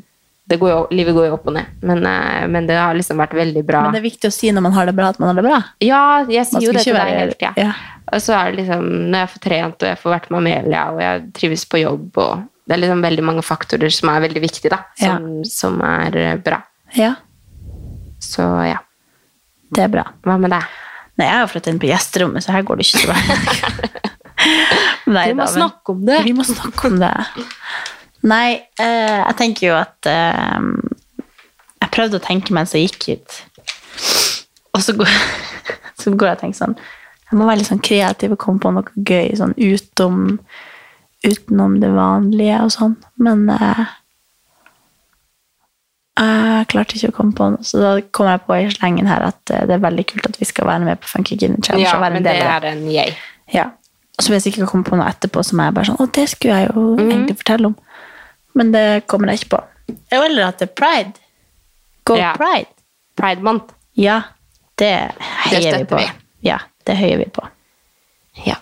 S1: det går jo, Livet går jo opp og ned, men, eh, men det har liksom vært veldig bra.
S2: Men det er viktig å si når man har det bra, at man har det bra.
S1: Ja, jeg
S2: Man
S1: sier jo det
S2: skal
S1: til
S2: ikke
S1: deg
S2: være-
S1: hele tida.
S2: Ja.
S1: Og så er det liksom Når jeg får trent, og jeg får vært med Amelia, og jeg trives på jobb og Det er liksom veldig mange faktorer som er veldig viktige, da. Som, som er eh, bra.
S2: ja,
S1: Så ja.
S2: det er bra.
S1: Hva med deg?
S2: Nei, jeg har flyttet inn på gjesterommet, så her går det ikke så bra. Nei, da, men-
S1: om
S2: Vi må snakke om det. Nei, eh, jeg tenker jo at eh, Jeg prøvde å tenke mens jeg gikk hit. Og så går, så går jeg og tenker sånn Jeg må være litt sånn kreativ og komme på noe gøy sånn utom, utenom det vanlige og sånn. Men eh, jeg klarte ikke å komme på noe, så da kom jeg på i slengen her at eh, det er veldig kult at vi skal være med på Funky Kidney Challenge.
S1: Ja,
S2: og være
S1: men
S2: en del
S1: det
S2: av det.
S1: er en yay.
S2: Ja. Og så vil jeg sikkert komme på noe etterpå som jeg bare sånn, å, det skulle jeg jo egentlig fortelle om. Men det kommer jeg ikke på. Jo, Eller at det er pride. Go
S1: Ja.
S2: pride.
S1: Pride month.
S2: Ja, det heier vi
S1: støtter
S2: på.
S1: vi.
S2: Ja, det høyer vi på.
S1: Ja.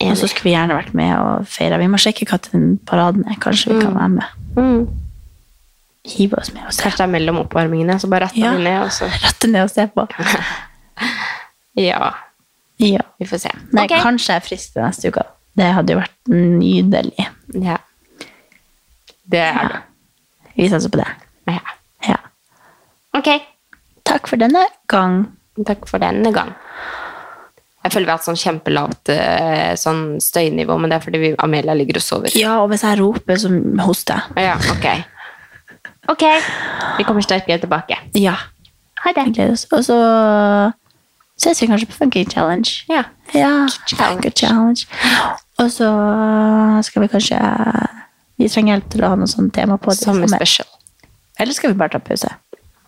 S2: Og så skulle vi gjerne vært med og feire. Vi må sjekke hva den paraden er. Kanskje vi kan være med.
S1: Mm.
S2: Hive oss med og se.
S1: Kanskje det er mellom oppvarmingene, så bare retta
S2: Ja.
S1: vi ned, og så
S2: Rette ned og se på.
S1: Ja.
S2: Ja.
S1: Vi får se.
S2: Nei,
S1: Ok.
S2: kanskje jeg er frisk til neste uke. Det hadde jo vært nydelig.
S1: Ja. Det er du.
S2: Vi satser på det.
S1: Ja.
S2: Ja.
S1: Ok.
S2: Takk for denne gang.
S1: Takk for denne gang. Jeg føler vi har hatt sånn kjempelavt eh, sånn støynivå, men det er fordi vi, Amelia ligger og sover.
S2: Ja, og hvis jeg roper, så hoster jeg.
S1: Ja, ok. Ok. Vi kommer sterkere tilbake.
S2: Ja.
S1: Ha det.
S2: Vi gleder oss. Og så ses vi kanskje på Funky Challenge.
S1: Ja.
S2: Ja.
S1: Challenge.
S2: Funky Challenge. Og så skal vi kanskje Vi trenger hjelp til å ha noe sånt tema på. det
S1: Sommer
S2: samme.
S1: special.
S2: Eller skal vi bare ta pause?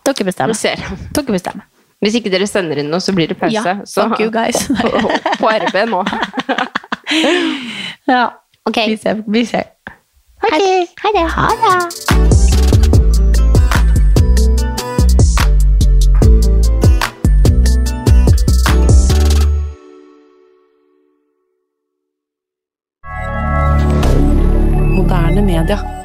S2: Dere
S1: Vi
S2: bestemmer.
S1: ser.
S2: Dere bestemmer.
S1: Hvis ikke dere sender inn noe, så blir det pause.
S2: Ja,
S1: så
S2: fuck you guys.
S1: på RB nå.
S2: Ja.
S1: Ok.
S2: Vi ser. Vi ser.
S1: Ha det. Ha det.
S2: Ha det.
S3: Moderne media.